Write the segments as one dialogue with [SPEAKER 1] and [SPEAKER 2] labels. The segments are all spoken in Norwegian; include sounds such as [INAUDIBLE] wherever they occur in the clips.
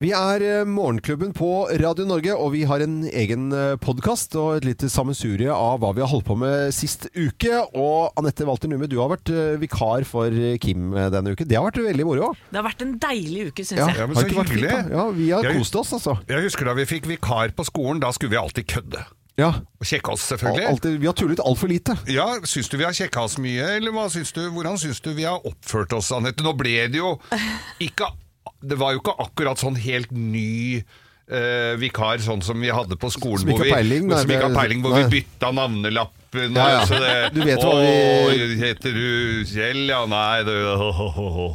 [SPEAKER 1] Vi er eh, Morgenklubben på Radio Norge, og vi har en egen podkast og et lite sammensurie av hva vi har holdt på med sist uke. Og Anette Walter Numme, du har vært eh, vikar for eh, Kim eh, denne uken. Det har vært veldig moro.
[SPEAKER 2] Det har vært en deilig uke, syns
[SPEAKER 1] Ja,
[SPEAKER 2] jeg.
[SPEAKER 1] har
[SPEAKER 3] men
[SPEAKER 1] det
[SPEAKER 3] så
[SPEAKER 1] ikke vært
[SPEAKER 3] hyggelig.
[SPEAKER 1] fint, da? Ja, vi har
[SPEAKER 3] Jeg-
[SPEAKER 1] kost oss, altså.
[SPEAKER 3] Jeg husker da vi fikk vikar på skolen, da skulle vi alltid kødde.
[SPEAKER 1] Ja,
[SPEAKER 3] Og kjekke oss,
[SPEAKER 1] al-
[SPEAKER 3] selvfølgelig.
[SPEAKER 1] alltid, vi har tullet altfor lite.
[SPEAKER 3] Ja, Syns du vi har kjekka oss mye, eller hva syns du, hvordan syns du vi har oppført oss, Anette? Nå ble det jo ikke Det var jo ikke akkurat sånn helt ny eh, vikar, sånn som vi hadde på skolen,
[SPEAKER 1] Som ikke
[SPEAKER 3] hvor, vi,
[SPEAKER 1] har peiling, nei,
[SPEAKER 3] som ikke har
[SPEAKER 1] det-
[SPEAKER 3] peiling, hvor
[SPEAKER 1] nei.
[SPEAKER 3] vi bytta navnelappen.
[SPEAKER 1] Ja, ja.
[SPEAKER 3] og så det-
[SPEAKER 1] Du vet hva
[SPEAKER 3] «Å,
[SPEAKER 1] vi-
[SPEAKER 3] Heter du Kjell? Ja, nei, du ho, ho, ho, ho.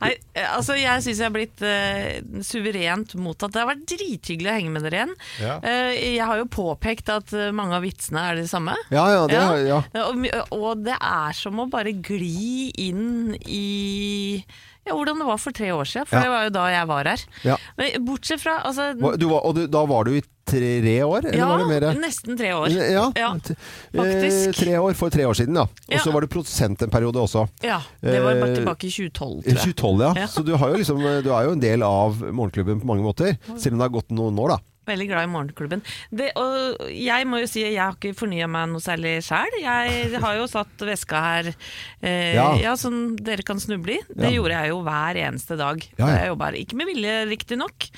[SPEAKER 3] [LAUGHS]
[SPEAKER 2] Nei, eh, altså Jeg syns jeg har blitt eh, suverent mottatt. Det har vært drithyggelig å henge med dere igjen.
[SPEAKER 3] Ja.
[SPEAKER 2] Eh, jeg har jo påpekt at eh, mange av vitsene er de samme.
[SPEAKER 1] Ja, ja, det, har- ja.
[SPEAKER 2] Eh, Og, my- og det er som å bare gli inn i ja, hvordan det var for tre år siden, for
[SPEAKER 1] Ja.
[SPEAKER 2] det var jo da jeg var her.
[SPEAKER 1] Ja.
[SPEAKER 2] Men bortsett fra altså,
[SPEAKER 1] Hva- Du var, og du, da var du i tre år, eller var det mer?
[SPEAKER 2] Ja, nesten tre år.
[SPEAKER 1] Ja,
[SPEAKER 2] ja.
[SPEAKER 1] t-
[SPEAKER 2] faktisk.
[SPEAKER 1] Eh, tre år, for tre år siden, da. Og så
[SPEAKER 2] Ja.
[SPEAKER 1] var du produsent en periode også.
[SPEAKER 2] Ja, Det var bare
[SPEAKER 1] Eh,
[SPEAKER 2] tilbake i 2012,
[SPEAKER 1] I
[SPEAKER 2] tror jeg.
[SPEAKER 1] 2012, ja.
[SPEAKER 2] Ja.
[SPEAKER 1] Så du, har jo liksom, du er jo en del av morgenklubben på mange måter.
[SPEAKER 2] Mm.
[SPEAKER 1] Selv om det har gått noen år, da.
[SPEAKER 2] Veldig glad i Morgenklubben. Det, og jeg må jo si at jeg har ikke fornya meg noe særlig sjæl. Jeg har jo satt veska her eh, ja.
[SPEAKER 1] Ja.
[SPEAKER 2] som dere kan snuble i. Det
[SPEAKER 1] Ja.
[SPEAKER 2] gjorde jeg jo hver eneste dag.
[SPEAKER 1] Ja, ja.
[SPEAKER 2] Jeg jobba her. Ikke med vilje, riktignok,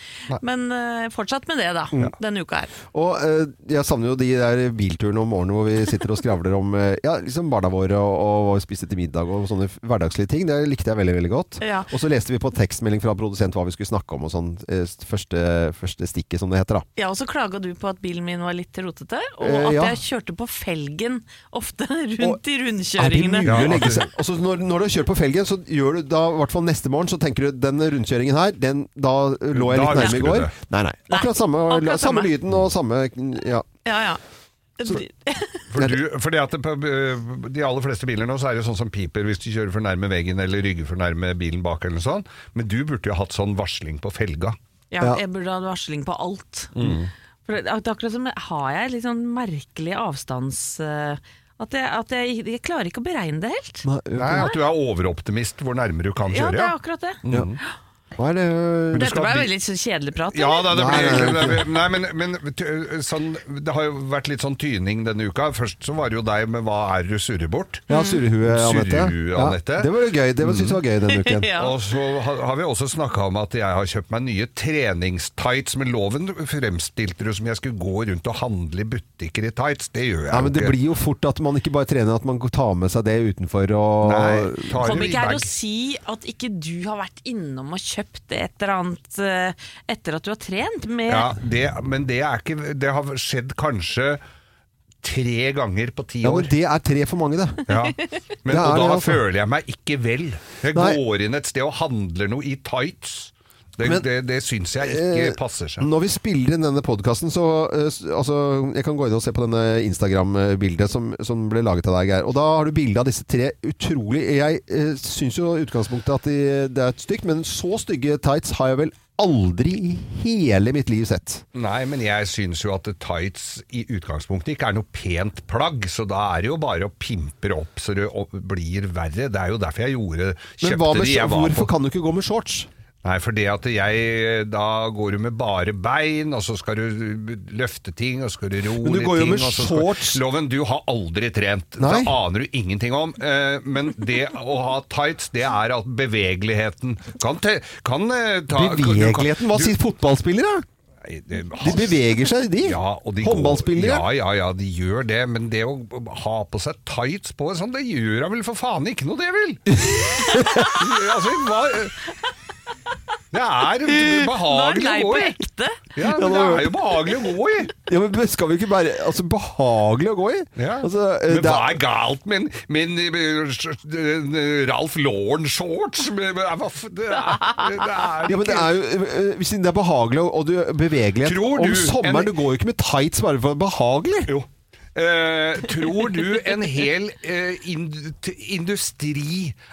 [SPEAKER 2] men eh, fortsatt med det, da. Denne uka her.
[SPEAKER 1] Og eh, jeg savner jo de der bilturene om morgenen hvor vi sitter og skravler om eh, ja, liksom barna våre og, og hva vi spiste til middag og sånne f- hverdagslige ting. Det likte jeg veldig veldig godt.
[SPEAKER 2] Ja.
[SPEAKER 1] Og så leste vi på tekstmelding fra produsent hva vi skulle snakke om og sånn. eh, s- Første, første stikket, som det heter. da
[SPEAKER 2] Ja, og så klaga du på at bilen min var litt rotete, og
[SPEAKER 1] Eh,
[SPEAKER 2] at
[SPEAKER 1] ja.
[SPEAKER 2] jeg kjørte på felgen ofte [LAUGHS]
[SPEAKER 1] Og
[SPEAKER 2] rundt i
[SPEAKER 1] Er det mulig
[SPEAKER 2] rundkjøringene.
[SPEAKER 1] å legge seg? Og så når, når du har kjørt på felgen, så gjør du da, i hvert fall neste morgen, så tenker du den rundkjøringen her, den, da eh, lå jeg
[SPEAKER 3] Da
[SPEAKER 1] litt
[SPEAKER 3] husker
[SPEAKER 1] nærme i
[SPEAKER 3] du
[SPEAKER 1] går.
[SPEAKER 3] det.
[SPEAKER 1] Nei, nei. Akkurat samme,
[SPEAKER 2] Akkurat samme.
[SPEAKER 1] samme lyden og samme Ja.
[SPEAKER 2] Ja, ja.
[SPEAKER 3] For, du, for det at det, på, øh, de aller fleste biler nå, så er det jo sånn som piper hvis du kjører for nærme veggen eller rygger for nærme bilen bak eller noe sånt. Men du burde jo hatt sånn varsling på felga.
[SPEAKER 2] Ja,
[SPEAKER 1] Ja.
[SPEAKER 2] jeg burde ha varsling på alt.
[SPEAKER 3] Mm.
[SPEAKER 2] For det, det er akkurat som har jeg litt sånn merkelig avstands... eh, At, jeg, at jeg, jeg klarer ikke å beregne det helt.
[SPEAKER 3] Nei, at du er overoptimist hvor nærme du kan
[SPEAKER 2] Ja,
[SPEAKER 3] kjøre.
[SPEAKER 2] det er
[SPEAKER 3] Ja,
[SPEAKER 2] akkurat det.
[SPEAKER 1] Ja. Hva er det
[SPEAKER 3] du
[SPEAKER 2] Dette
[SPEAKER 3] skal
[SPEAKER 2] ble
[SPEAKER 3] ha bil-
[SPEAKER 2] veldig sånn kjedelig prat.
[SPEAKER 3] ja da, det
[SPEAKER 1] Nei,
[SPEAKER 3] blir
[SPEAKER 1] nei, nei.
[SPEAKER 3] egentlig Nei, men, men t- sånn, det har jo vært litt sånn tyning denne uka. Først så var det jo deg med 'Hva er det du surrer bort?'
[SPEAKER 1] Ja, surrehue
[SPEAKER 3] Mm,
[SPEAKER 1] Anette.
[SPEAKER 3] Surrehue,
[SPEAKER 1] Ja,
[SPEAKER 3] Anette.
[SPEAKER 1] det var jo gøy. Det var- synes jeg var gøy denne uken.
[SPEAKER 2] Ja.
[SPEAKER 3] Og så har har vi også snakka om at jeg har kjøpt meg nye treningstights. Men loven fremstilte det som jeg skulle gå rundt og handle i butikker i tights. Det gjør jeg
[SPEAKER 1] Nei, men Det
[SPEAKER 3] ikke.
[SPEAKER 1] blir jo fort at man ikke bare trener, at man tar med seg det utenfor og
[SPEAKER 3] Nei, tar
[SPEAKER 2] Kom
[SPEAKER 3] du i
[SPEAKER 2] ikke her
[SPEAKER 3] bag.
[SPEAKER 2] og si at ikke du har vært innom og kjøpt et eller annet eh, etter at du har trent med
[SPEAKER 3] Ja, det, men det er ikke Det har skjedd kanskje tre ganger på ti
[SPEAKER 1] ja, men
[SPEAKER 3] år.
[SPEAKER 1] det er tre for mange, det.
[SPEAKER 3] [LAUGHS] Ja. Men,
[SPEAKER 1] Det er
[SPEAKER 3] og da
[SPEAKER 1] det, altså.
[SPEAKER 3] føler jeg meg ikke vel. Jeg
[SPEAKER 1] Nei.
[SPEAKER 3] går inn et sted og handler noe i tights. Det,
[SPEAKER 1] Men-
[SPEAKER 3] det, det syns jeg ikke
[SPEAKER 1] Eh,
[SPEAKER 3] passer seg.
[SPEAKER 1] Når vi spiller inn denne podkasten, så eh, s- altså, Jeg kan gå inn og se på denne Instagram-bildet som, som ble laget av deg, Geir. Og da har du bilde av disse tre utrolig Jeg uh, syns jo i utgangspunktet at de, det er et stygt, men så stygge tights har jeg vel aldri i hele mitt liv sett.
[SPEAKER 3] Nei, men jeg syns jo at tights i utgangspunktet ikke er noe pent plagg, så da er det jo bare å pimpe det opp så det o- blir verre. Det er jo derfor jeg gjorde
[SPEAKER 1] Men
[SPEAKER 3] kjøpte
[SPEAKER 1] hva med,
[SPEAKER 3] de jeg var
[SPEAKER 1] hvorfor
[SPEAKER 3] på.
[SPEAKER 1] kan du ikke gå med shorts?
[SPEAKER 3] Nei, for det at jeg eh, Da går du med bare bein, og så skal du eh, løfte ting, og så skal du ro
[SPEAKER 1] Men du
[SPEAKER 3] litt
[SPEAKER 1] går jo
[SPEAKER 3] ting,
[SPEAKER 1] med
[SPEAKER 3] og så skal-
[SPEAKER 1] shorts.
[SPEAKER 3] Loven, du har aldri trent.
[SPEAKER 1] Nei.
[SPEAKER 3] Det aner du ingenting om. Eh, Men det å ha tights, det er at bevegeligheten kan, te, kan eh, ta
[SPEAKER 1] Bevegeligheten? Hva sier
[SPEAKER 3] du-
[SPEAKER 1] fotballspillere?
[SPEAKER 3] Nei, det-
[SPEAKER 1] De beveger seg, de.
[SPEAKER 3] ja, og de
[SPEAKER 1] Håndballspillere.
[SPEAKER 3] Går, ja, ja, ja, de gjør det, men det å ha på seg tights på sånn, det gjør jeg vel for faen ikke noe, det vel? altså, hva Det er behagelig
[SPEAKER 2] Nå er
[SPEAKER 3] å gå
[SPEAKER 2] den lei på
[SPEAKER 3] i.
[SPEAKER 2] ekte. [LAUGHS]
[SPEAKER 3] Ja, men det er jo behagelig å gå i.
[SPEAKER 1] Ja, men Skal vi ikke bare Altså, behagelig å gå i?
[SPEAKER 3] Ja.
[SPEAKER 1] [LAUGHS] Altså, eh,
[SPEAKER 3] men
[SPEAKER 1] det
[SPEAKER 3] hva
[SPEAKER 1] er-
[SPEAKER 3] er galt med en eh, Ralph Lauren-shorts? Men- men hva f- Det er, det er
[SPEAKER 1] ja, men det er jo, eh, eh, Siden det er behagelig og du, bevegelighet
[SPEAKER 3] Tror du
[SPEAKER 1] om sommeren
[SPEAKER 3] en-
[SPEAKER 1] Du går jo ikke med tights bare for å være behagelig.
[SPEAKER 3] Jo. Eh, tror du en hel eh, ind- t- industri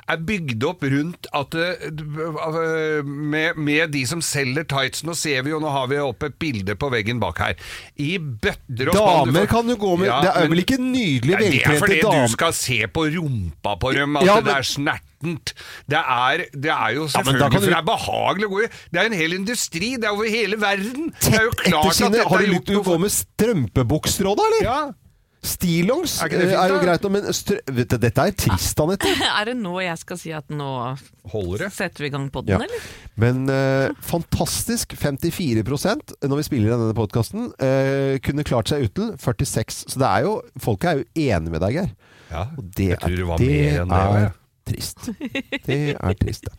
[SPEAKER 3] er bygd opp rundt at eh, d- eh, med, med de som selger tightsen Nå ser vi jo, nå har vi opp et bilde på veggen bak her. I bøtter og spann, du
[SPEAKER 1] Damer
[SPEAKER 3] får-
[SPEAKER 1] kan jo gå med
[SPEAKER 3] Ja,
[SPEAKER 1] Det er
[SPEAKER 3] men-
[SPEAKER 1] vel ikke nydelige,
[SPEAKER 3] Nei, Det er fordi
[SPEAKER 1] veltrente
[SPEAKER 3] du
[SPEAKER 1] damer
[SPEAKER 3] skal se på rumpa på dem, at
[SPEAKER 1] Ja, men-
[SPEAKER 3] det er snertent. Det er, det er jo
[SPEAKER 1] men da kan
[SPEAKER 3] selvfølgelig
[SPEAKER 1] du-
[SPEAKER 3] For det er behagelig å gå i. Det er en hel industri, det er over hele verden. Det er jo
[SPEAKER 1] Tett etter
[SPEAKER 3] klart at
[SPEAKER 1] sine
[SPEAKER 3] dette
[SPEAKER 1] Har
[SPEAKER 3] er
[SPEAKER 1] du lyst
[SPEAKER 3] gjort
[SPEAKER 1] til å
[SPEAKER 3] noe
[SPEAKER 1] gå
[SPEAKER 3] for-
[SPEAKER 1] med strømpebukser òg, da? eller?
[SPEAKER 3] Ja,
[SPEAKER 1] Stillongs eh,
[SPEAKER 3] Er
[SPEAKER 1] er,
[SPEAKER 3] ikke det fint,
[SPEAKER 1] jo
[SPEAKER 3] da?
[SPEAKER 1] greit, nå, men strø vet du, dette er trist, Anette.
[SPEAKER 2] [LAUGHS] Er det nå jeg skal si at nå
[SPEAKER 3] holder det.
[SPEAKER 2] setter vi i gang podden,
[SPEAKER 1] Ja.
[SPEAKER 2] eller?
[SPEAKER 1] Men eh, fantastisk. 54 når vi spiller denne podkasten, kunne klart seg uten. 46 Så det er jo Folket er jo enig med deg, Geir.
[SPEAKER 3] Ja,
[SPEAKER 1] Og det
[SPEAKER 3] jeg tror det var
[SPEAKER 1] er-
[SPEAKER 3] mer enn det. var jeg.
[SPEAKER 1] er trist. Det er trist, det.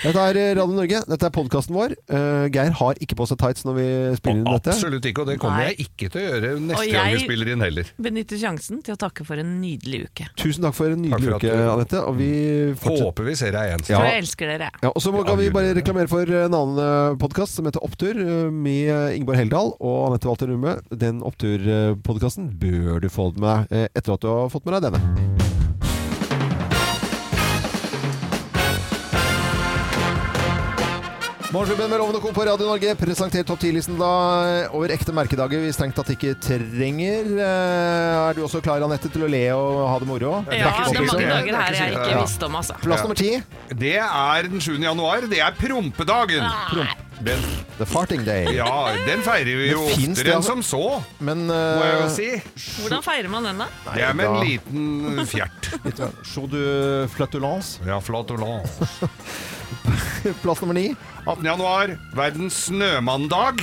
[SPEAKER 1] Dette er eh, Radio Norge. Dette er podkasten vår. Eh, Geir har ikke på seg tights når vi spiller inn dette.
[SPEAKER 3] Absolutt ikke, og det kommer
[SPEAKER 2] Nei.
[SPEAKER 3] jeg ikke til å gjøre neste
[SPEAKER 2] Og
[SPEAKER 3] gang vi
[SPEAKER 2] jeg-
[SPEAKER 3] spiller inn heller.
[SPEAKER 2] Benytter sjansen til å takke for en nydelig uke.
[SPEAKER 1] Tusen takk for en
[SPEAKER 3] Takk for
[SPEAKER 1] nydelig
[SPEAKER 3] at
[SPEAKER 1] uke,
[SPEAKER 3] du-
[SPEAKER 1] Anette. Og vi fortsetter.
[SPEAKER 3] Håper vi ser deg igjen.
[SPEAKER 1] Ja.
[SPEAKER 2] For jeg elsker dere.
[SPEAKER 1] Ja, og så må-
[SPEAKER 3] Ja,
[SPEAKER 1] kan vi
[SPEAKER 3] gjør
[SPEAKER 1] bare
[SPEAKER 3] det.
[SPEAKER 1] reklamere for en annen podkast som heter Opptur, eh, med Ingeborg Heldal og Anette Walter Numme. Den Opptur-podkasten bør du få med deg eh, etter at du har fått med deg denne. Morgenklubben med Loven og Co. på Radio Norge presenterer topp 10-listen da eh, over ekte merkedager vi strengt tatt ikke trenger. Eh, Er du også klar, Anette, til å le og ha det moro?
[SPEAKER 3] er ikke
[SPEAKER 2] Ja, det er
[SPEAKER 3] sikkert
[SPEAKER 2] mange
[SPEAKER 3] det. Det er
[SPEAKER 2] dager
[SPEAKER 3] ikke
[SPEAKER 2] her jeg
[SPEAKER 3] sikkert
[SPEAKER 2] ikke
[SPEAKER 3] det.
[SPEAKER 2] visste om, altså.
[SPEAKER 1] Plass nummer ti,
[SPEAKER 3] Det er den 7. januar. Det er prompedagen! Den,
[SPEAKER 1] The Farting Day.
[SPEAKER 3] ja, den feirer vi
[SPEAKER 1] Det
[SPEAKER 3] jo
[SPEAKER 1] finnes det,
[SPEAKER 3] oftere enn
[SPEAKER 1] altså.
[SPEAKER 3] som så,
[SPEAKER 1] Men
[SPEAKER 3] må jeg
[SPEAKER 1] eh,
[SPEAKER 3] jo si.
[SPEAKER 2] Hvordan feirer man den, da?
[SPEAKER 3] Det er med en
[SPEAKER 1] da-
[SPEAKER 3] liten fjert.
[SPEAKER 1] Show du flatulence?
[SPEAKER 3] Ja, flatolan.
[SPEAKER 1] [LAUGHS] Plass nummer ni.
[SPEAKER 3] 18. januar, verdens snømandag.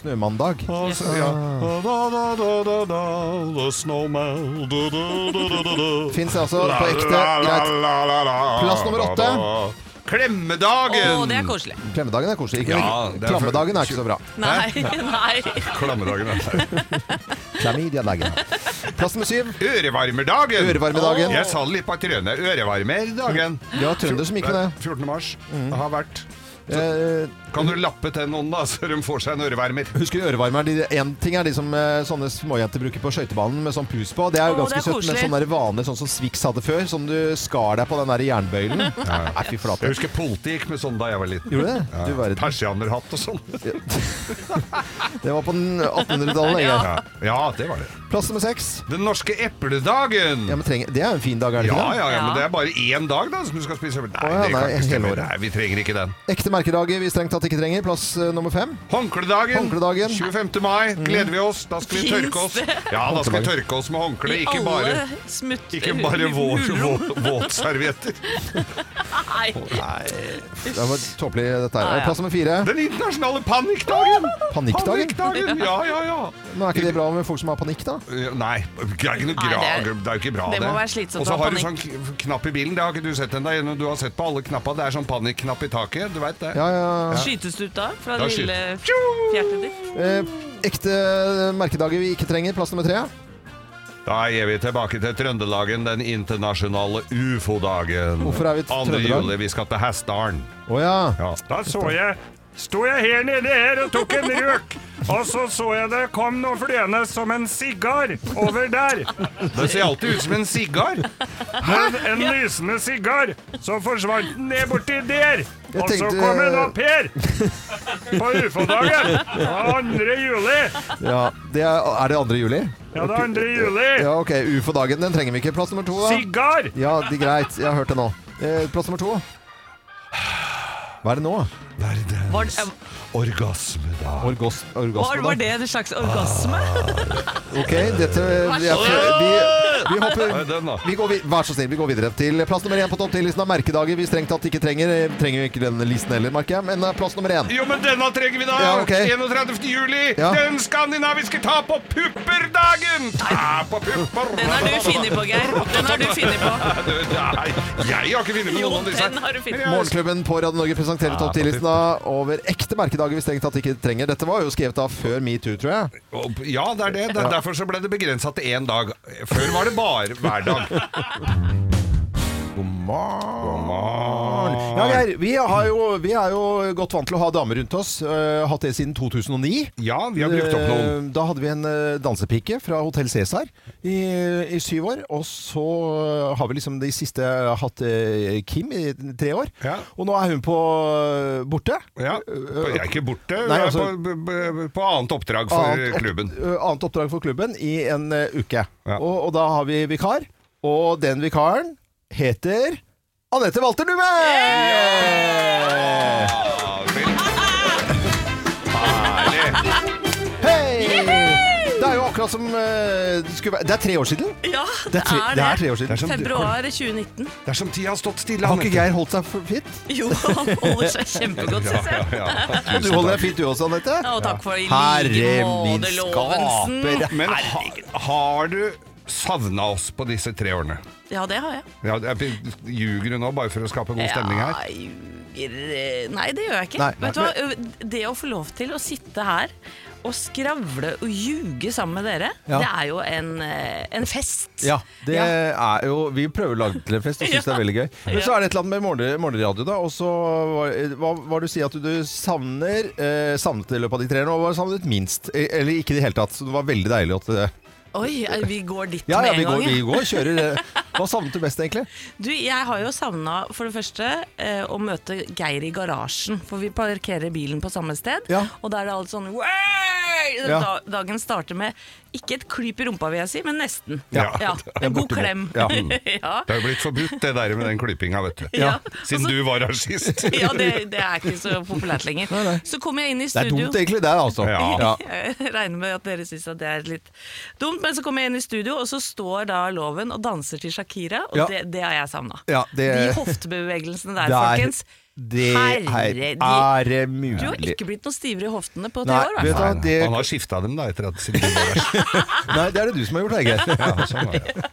[SPEAKER 1] Snømandag.
[SPEAKER 3] Og så- ja.
[SPEAKER 1] Ah.
[SPEAKER 3] Da, da, da, da, da, the snowman, da, da, da, da, da, da.
[SPEAKER 1] Fins altså
[SPEAKER 3] La,
[SPEAKER 1] på ekte.
[SPEAKER 3] la, la,
[SPEAKER 1] Greit.
[SPEAKER 3] la, la, la,
[SPEAKER 1] Plass nummer
[SPEAKER 3] la,
[SPEAKER 1] åtte.
[SPEAKER 3] la. Klemmedagen!
[SPEAKER 2] Å, det er koselig.
[SPEAKER 1] Klemmedagen er koselig. Ikke,
[SPEAKER 3] Ja, det er for-
[SPEAKER 1] klammedagen er ikke så bra.
[SPEAKER 2] Nei, [LAUGHS] nei.
[SPEAKER 1] [LAUGHS]
[SPEAKER 3] Klammedagen er
[SPEAKER 1] Klamydiadagen. Plass nummer syv.
[SPEAKER 3] Ørevarmerdagen!
[SPEAKER 1] Ørevarmedagen.
[SPEAKER 3] Jeg sa det litt på trynet. Ørevarmerdagen.
[SPEAKER 1] Vi har trønder som gikk med det. Mm.
[SPEAKER 3] 14. mars. Det har vært.
[SPEAKER 1] Eh,
[SPEAKER 3] Kan du lappe til noen, da, så de får seg en ørevarmer?
[SPEAKER 1] husker du ørevarmeren? Én ting er de som eh, sånne småjenter bruker på skøytebanen med sånn pus på. Det er jo
[SPEAKER 2] Å,
[SPEAKER 1] ganske
[SPEAKER 2] det er
[SPEAKER 1] søtt, men
[SPEAKER 2] koselig.
[SPEAKER 1] sånn der vanlig, sånn som Swix hadde før, som du skar deg på den der jernbøylen. Nei, fy flate.
[SPEAKER 3] Jeg husker politiet gikk med sånn da jeg var liten.
[SPEAKER 1] Gjorde du det? Du verden.
[SPEAKER 3] Persianerhatt og sånn.
[SPEAKER 1] [LAUGHS] Det var på den 1800-tallet. Inge.
[SPEAKER 3] Ja. ja, det var det.
[SPEAKER 1] Plass nummer seks.
[SPEAKER 3] Den norske epledagen!
[SPEAKER 1] Ja, men trenger, det er jo en fin dag, er det
[SPEAKER 3] Ja,
[SPEAKER 1] ikke det?
[SPEAKER 3] ja, ja, men
[SPEAKER 2] Ja.
[SPEAKER 3] det er bare én dag da som du skal spise eple. Nei,
[SPEAKER 1] ja,
[SPEAKER 3] det kan
[SPEAKER 1] nei,
[SPEAKER 3] ikke
[SPEAKER 1] hele
[SPEAKER 3] stemme.
[SPEAKER 1] året.
[SPEAKER 3] Nei, vi trenger ikke den.
[SPEAKER 1] Ekte merkedager vi strengt tatt ikke trenger. Plass eh, nummer fem.
[SPEAKER 3] Håndkledagen!
[SPEAKER 1] Håndkledagen. Mm.
[SPEAKER 3] 25. mai gleder vi oss. Da skal vi
[SPEAKER 2] Finnes
[SPEAKER 3] tørke oss.
[SPEAKER 2] det?
[SPEAKER 3] Ja, da skal vi tørke oss med håndkle, ikke bare
[SPEAKER 2] Alle smutt...
[SPEAKER 3] ikke bare våt,
[SPEAKER 2] hulrom.
[SPEAKER 3] våt, våtservietter.
[SPEAKER 2] Nei.
[SPEAKER 1] Det var tåpelig, dette her.
[SPEAKER 2] Ja, ja.
[SPEAKER 1] Plass nummer fire.
[SPEAKER 3] Den internasjonale panikkdagen!
[SPEAKER 1] Panikkdagen?
[SPEAKER 3] Panikkdagen, Ja, ja, ja.
[SPEAKER 1] Nå er ikke det bra med folk som har panikk, da?
[SPEAKER 3] Nei, det er ikke noe
[SPEAKER 2] Nei,
[SPEAKER 3] gra, det,
[SPEAKER 2] det er-
[SPEAKER 3] er, jo ikke bra,
[SPEAKER 2] det
[SPEAKER 3] det.
[SPEAKER 2] må være slitsomt
[SPEAKER 3] Og så
[SPEAKER 2] å ha
[SPEAKER 3] har du sånn
[SPEAKER 2] panikk.
[SPEAKER 3] k- knapp i bilen, det har ikke du sett ennå. Du har sett på alle knappa, det er sånn panikknapp i taket, du veit det.
[SPEAKER 1] Ja, ja.
[SPEAKER 2] [LAUGHS] Skytes du ut da? Fra
[SPEAKER 3] Da
[SPEAKER 2] det lille
[SPEAKER 3] skyter-
[SPEAKER 2] fjertet ditt?
[SPEAKER 1] Eh, ekte merkedager vi ikke trenger. Plass nummer tre.
[SPEAKER 3] Da er vi tilbake til Trøndelagen, den internasjonale ufo-dagen.
[SPEAKER 1] Hvorfor er vi til
[SPEAKER 3] 2.
[SPEAKER 1] Trøndelag?
[SPEAKER 3] juli, vi skal til Hessdalen.
[SPEAKER 1] Å ja.
[SPEAKER 3] Ja.
[SPEAKER 4] Da så jeg Sto jeg her nede her og tok en røk. Og så så jeg det kom noe flyende som en sigar over der.
[SPEAKER 3] Det ser alltid ut som en sigar.
[SPEAKER 4] Men en lysende sigar. Så forsvant den ned borti der. Og så
[SPEAKER 1] tenkte-
[SPEAKER 4] kom den opp her. På ufo-dagen. Ja, 2. juli.
[SPEAKER 1] ja. Det er, er det 2. juli?
[SPEAKER 4] Ja, det er 2. juli.
[SPEAKER 1] Ja, ok. Ufo-dagen, den trenger vi ikke. Plass nummer to, da.
[SPEAKER 4] Sigar.
[SPEAKER 1] Ja, det er greit. Jeg har hørt det nå. Eh, plass nummer to. Hva er det nå?
[SPEAKER 2] Var, det-
[SPEAKER 3] Orgasmedag.
[SPEAKER 1] Orgos,
[SPEAKER 2] var,
[SPEAKER 1] orgasme,
[SPEAKER 2] var
[SPEAKER 1] da.
[SPEAKER 2] det en slags orgasme?
[SPEAKER 1] Ok, dette vi er, vi, Vi,
[SPEAKER 3] Nei,
[SPEAKER 1] hopper,
[SPEAKER 3] den da.
[SPEAKER 1] vi går, vid- vær så snill, vi går videre til plass nummer én på topp 10-listen av merkedager vi strengt tatt ikke trenger. Eh, Trenger jo ikke den listen heller, merker jeg, men eh, plass nummer én.
[SPEAKER 3] Jo, men denne trenger vi da!
[SPEAKER 1] Ja, ok.
[SPEAKER 3] 31. juli!
[SPEAKER 1] Ja.
[SPEAKER 3] Den skandinaviske ta på pupperdagen! Ta på pupper!
[SPEAKER 2] Den har du
[SPEAKER 3] [LAUGHS]
[SPEAKER 2] funnet på, Geir. Den har du funnet på.
[SPEAKER 3] Nei, jeg har ikke funnet på
[SPEAKER 2] Jo,
[SPEAKER 3] noen av disse.
[SPEAKER 2] den har du funnet.
[SPEAKER 3] Men jeg-
[SPEAKER 1] Morgenklubben på Radio Norge presenterer topp 10-listen av over ekte merkedager vi strengt tatt ikke trenger. Dette var jo skrevet av før metoo, tror jeg.
[SPEAKER 3] Ja, det er det. det er derfor så ble det begrensa til én dag. Før var det bare hver dag.
[SPEAKER 1] [LAUGHS] God morgen. Ja, Geir, vi, har jo, vi er jo godt vant til å ha damer rundt oss. eh, hatt det siden 2009.
[SPEAKER 3] Ja, vi har brukt opp noen.
[SPEAKER 1] Eh, Da hadde vi en eh, dansepike fra Hotell Cæsar i, eh, i syv år. Og så eh, har vi liksom de siste hatt eh, Kim i tre år.
[SPEAKER 3] Ja.
[SPEAKER 1] Og nå er hun på eh, borte.
[SPEAKER 3] Ja, jeg er ikke borte.
[SPEAKER 1] Nei,
[SPEAKER 3] jeg er
[SPEAKER 1] altså-
[SPEAKER 3] på, på- på annet oppdrag for
[SPEAKER 1] opp-
[SPEAKER 3] klubben.
[SPEAKER 1] eh, annet oppdrag for klubben i en eh, uke.
[SPEAKER 3] Ja.
[SPEAKER 1] Og, og da har vi vikar. Og den vikaren heter Anette Walter Numme!
[SPEAKER 3] Ja,
[SPEAKER 2] [LAUGHS]
[SPEAKER 3] vel. Herlig.
[SPEAKER 1] Hei! Det er jo akkurat som eh, det skulle være Det er tre år siden.
[SPEAKER 2] Ja,
[SPEAKER 1] Det
[SPEAKER 2] det
[SPEAKER 1] er tre, det er
[SPEAKER 2] er det.
[SPEAKER 1] tre år siden.
[SPEAKER 3] Det er som,
[SPEAKER 2] Februar 2019.
[SPEAKER 3] det er som tida har stått stille.
[SPEAKER 1] Har ikke
[SPEAKER 3] Anette.
[SPEAKER 1] Geir holdt seg for fit?
[SPEAKER 2] Jo, han holder seg kjempegodt, syns jeg.
[SPEAKER 3] Ja,
[SPEAKER 1] Og du
[SPEAKER 3] tusen
[SPEAKER 1] holder
[SPEAKER 3] takk.
[SPEAKER 1] deg fint du også, Anette?
[SPEAKER 2] Ja, og takk for det. I
[SPEAKER 1] Herre
[SPEAKER 2] like
[SPEAKER 1] min
[SPEAKER 2] måte, Lovensen.
[SPEAKER 1] skaper.
[SPEAKER 3] Men ha, har du savna oss på disse tre årene?
[SPEAKER 2] Ja, det har jeg.
[SPEAKER 3] Ja, jeg ljuger du nå bare for å skape god stemning her?
[SPEAKER 2] Ja, ljuger- Nei, det gjør jeg ikke.
[SPEAKER 1] Nei.
[SPEAKER 2] Vet du hva? Det å få lov til å sitte her og skravle og ljuge sammen med dere,
[SPEAKER 1] Ja.
[SPEAKER 2] det er jo en, eh, en fest.
[SPEAKER 1] Ja, det
[SPEAKER 2] Ja.
[SPEAKER 1] er jo Vi prøver å lage det til en
[SPEAKER 2] [LAUGHS]
[SPEAKER 1] fest og syns det er veldig gøy. Men så er det et eller annet med morgen- morgenradio, da. Og så var, hva var det du sier at du savner eh, Savnet i løpet av de tre årene, og var savnet minst. Eh, Eller ikke i det hele tatt. Så det var veldig deilig at eh,
[SPEAKER 2] Oi, eh, vi går dit
[SPEAKER 1] Ja,
[SPEAKER 2] med
[SPEAKER 1] ja,
[SPEAKER 2] en
[SPEAKER 1] vi
[SPEAKER 2] gang.
[SPEAKER 1] går,
[SPEAKER 2] ja.
[SPEAKER 1] vi går kjører. eh. Hva savnet du mest, egentlig?
[SPEAKER 2] Du, jeg har jo savna for det første eh, å møte Geir i garasjen, for vi parkerer bilen på samme sted.
[SPEAKER 1] Ja.
[SPEAKER 2] Og da er det alt sånn «Wey!»
[SPEAKER 1] Ja.
[SPEAKER 2] da, Dagen starter med ikke et klyp i rumpa, vil jeg si, men nesten.
[SPEAKER 3] Ja.
[SPEAKER 1] [LAUGHS]
[SPEAKER 3] [LAUGHS]
[SPEAKER 1] Ja,
[SPEAKER 2] En god
[SPEAKER 1] bortimot.
[SPEAKER 2] klem.
[SPEAKER 1] Ja.
[SPEAKER 2] [LAUGHS] ja.
[SPEAKER 3] Det har jo blitt forbudt det der med den klypinga, vet du.
[SPEAKER 2] Ja.
[SPEAKER 3] Siden
[SPEAKER 2] Og så-
[SPEAKER 3] du var her sist.
[SPEAKER 2] [LAUGHS] Ja, det, det er ikke så populært lenger. Så kommer jeg inn i
[SPEAKER 1] Det er
[SPEAKER 2] studio.
[SPEAKER 1] dumt, egentlig. Det er altså.
[SPEAKER 3] Ja.
[SPEAKER 2] Jeg regner med at dere syns at det er litt dumt, men så kommer jeg inn i studio, og så står da Loven og danser til Shakira, og
[SPEAKER 1] Ja.
[SPEAKER 2] det, det har jeg savna.
[SPEAKER 1] Ja, det-
[SPEAKER 2] De hoftebevegelsene
[SPEAKER 1] [LAUGHS]
[SPEAKER 2] der,
[SPEAKER 1] Det er-
[SPEAKER 2] folkens.
[SPEAKER 1] Det her
[SPEAKER 2] Herre, de-
[SPEAKER 1] er
[SPEAKER 2] Du har
[SPEAKER 1] mulig.
[SPEAKER 2] ikke blitt noe stivere i hoftene på tre
[SPEAKER 1] Nei,
[SPEAKER 2] år, i hvert
[SPEAKER 1] vet
[SPEAKER 2] fall.
[SPEAKER 1] du hva, det,
[SPEAKER 3] Han har skifta dem da etter at siden du var her.
[SPEAKER 1] nei, det er det du som har gjort, Heige.
[SPEAKER 2] [LAUGHS]
[SPEAKER 3] Ja, sånn var det.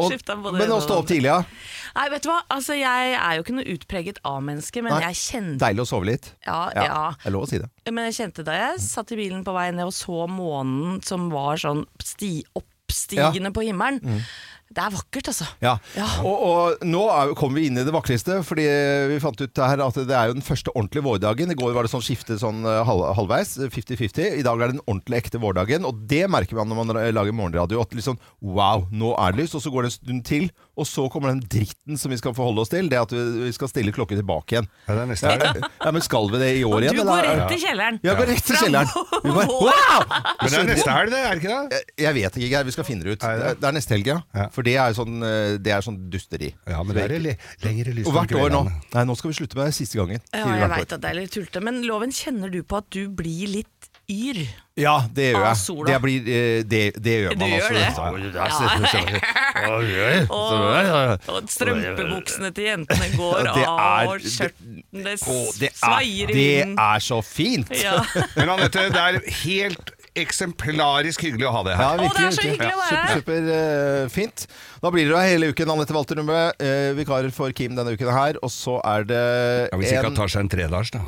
[SPEAKER 1] Og,
[SPEAKER 2] Skiftet både det
[SPEAKER 1] men å
[SPEAKER 2] ene og det
[SPEAKER 1] stå opp tidlig, ja.
[SPEAKER 2] Nei, vet du hva? Altså, jeg er jo ikke noe utpreget A-menneske, men
[SPEAKER 1] Nei.
[SPEAKER 2] jeg kjente
[SPEAKER 1] Deilig å sove litt.
[SPEAKER 2] Ja, ja.
[SPEAKER 1] Det er lov å si det.
[SPEAKER 2] Men jeg kjente da jeg satt i bilen på vei ned og så månen som var sånn sti, oppstigende på himmelen. Det er vakkert, altså.
[SPEAKER 1] Mm. Ja.
[SPEAKER 2] Ja.
[SPEAKER 1] Og, og nå er, kommer vi inn i det vakreste, fordi vi fant ut her at det er jo den første ordentlige vårdagen. I går var det sånn skifte sånn eh, halv, halvveis, 50-50. I dag er det den ordentlige ekte vårdagen, og det merker man når man ra- lager morgenradio. At liksom wow, nå er det lyst, og så går det en stund til, og så kommer den dritten som vi skal forholde oss til, det at vi, vi skal stille klokken tilbake igjen.
[SPEAKER 3] Ja, det er nesten-
[SPEAKER 1] Ja, ja, men skal vi det i år
[SPEAKER 2] Og
[SPEAKER 1] igjen?
[SPEAKER 2] du går rett i kjelleren.
[SPEAKER 1] Ja, går rett i kjelleren. Vi bare, wow!
[SPEAKER 3] Men det er neste helg, det, er det ikke det?
[SPEAKER 1] Jeg vet ikke, Geir. Vi skal finne det ut.
[SPEAKER 3] Er det?
[SPEAKER 1] Det er, det er neste helg, ja.
[SPEAKER 3] Ja.
[SPEAKER 1] For det er sånn, eh, det er sånn dusteri.
[SPEAKER 3] Ja, men det er le lengre lys
[SPEAKER 1] Og hvert år nå. Nei, nå skal vi slutte med det siste gangen.
[SPEAKER 2] Ja,
[SPEAKER 1] Sier vi
[SPEAKER 2] jeg
[SPEAKER 1] hvert
[SPEAKER 2] veit
[SPEAKER 1] år.
[SPEAKER 2] at det er litt tullete, men Loven, kjenner du på at du blir litt
[SPEAKER 1] [LAUGHS]
[SPEAKER 2] yr?
[SPEAKER 1] Ja, det gjør
[SPEAKER 2] Ah,
[SPEAKER 1] jeg.
[SPEAKER 2] sola.
[SPEAKER 1] Det, blir, eh, det, det gjør
[SPEAKER 2] Du
[SPEAKER 1] man
[SPEAKER 2] gjør det?
[SPEAKER 1] altså.
[SPEAKER 2] [LAUGHS] Og, og strømpebuksene til
[SPEAKER 1] [LAUGHS]
[SPEAKER 2] jentene går
[SPEAKER 1] Det er-
[SPEAKER 2] av, og skjørtene
[SPEAKER 1] Å, det, er,
[SPEAKER 2] svaier i
[SPEAKER 1] det
[SPEAKER 2] vinden.
[SPEAKER 1] er så fint!
[SPEAKER 2] Ja. [LAUGHS]
[SPEAKER 3] Men Anette, det er helt eksemplarisk hyggelig å ha det
[SPEAKER 1] Ja,
[SPEAKER 3] her.
[SPEAKER 1] virkelig,
[SPEAKER 2] det er så
[SPEAKER 1] virkelig.
[SPEAKER 2] hyggelig å være
[SPEAKER 1] Super,
[SPEAKER 2] her.
[SPEAKER 1] super eh, fint. Da blir det da hele uken Anette Walter Numme, eh, vikarer for Kim denne uken her. Og så er det eh,
[SPEAKER 3] Ja, hvis ikke han tar seg en tredagers, da.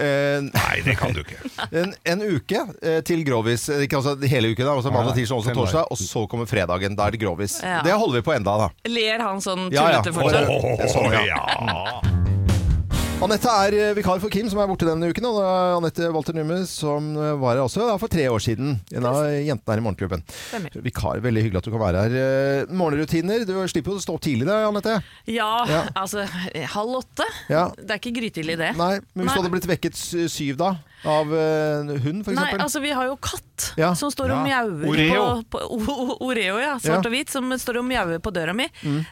[SPEAKER 1] en,
[SPEAKER 3] Nei, det kan du ikke.
[SPEAKER 1] en, en uke eh, til grovis. Eh, Ikke altså hele uken, da. Altså mandag, tirsdag, onsdag,
[SPEAKER 3] fem dager.
[SPEAKER 1] torsdag. Og så kommer fredagen. Da er det grovis.
[SPEAKER 2] Ja.
[SPEAKER 1] Det holder vi på enda, da.
[SPEAKER 2] Ler han sånn
[SPEAKER 1] Ja, ja.
[SPEAKER 2] tullete fortsatt? sånn,
[SPEAKER 3] Åh, ja.
[SPEAKER 1] Anette er eh, vikar for Kim, som er borte denne uken. Og det er Anette Walter Numme, som eh, var her også da, for tre år siden. En av jentene her i Morgenklubben.
[SPEAKER 2] Stemmer.
[SPEAKER 1] Vikar, veldig hyggelig at du kan være her. Eh, Morgenrutiner. Du slipper jo å stå opp tidlig, da, Anette.
[SPEAKER 2] Ja,
[SPEAKER 1] Ja.
[SPEAKER 2] altså halv åtte.
[SPEAKER 1] Ja.
[SPEAKER 2] Det er ikke grytidlig, det.
[SPEAKER 1] Nei, men hvis
[SPEAKER 2] Nei.
[SPEAKER 1] du hadde blitt vekket sy- syv da, av eh, hund, f.eks.?
[SPEAKER 2] Nei, altså vi har jo katt
[SPEAKER 1] Ja.
[SPEAKER 2] som står og
[SPEAKER 3] Ja.
[SPEAKER 2] mjauer
[SPEAKER 3] Oreo.
[SPEAKER 2] på, på o, o, Oreo, ja. Svart
[SPEAKER 1] Ja. Mm.
[SPEAKER 2] og hvit, som står og mjauer på døra mi.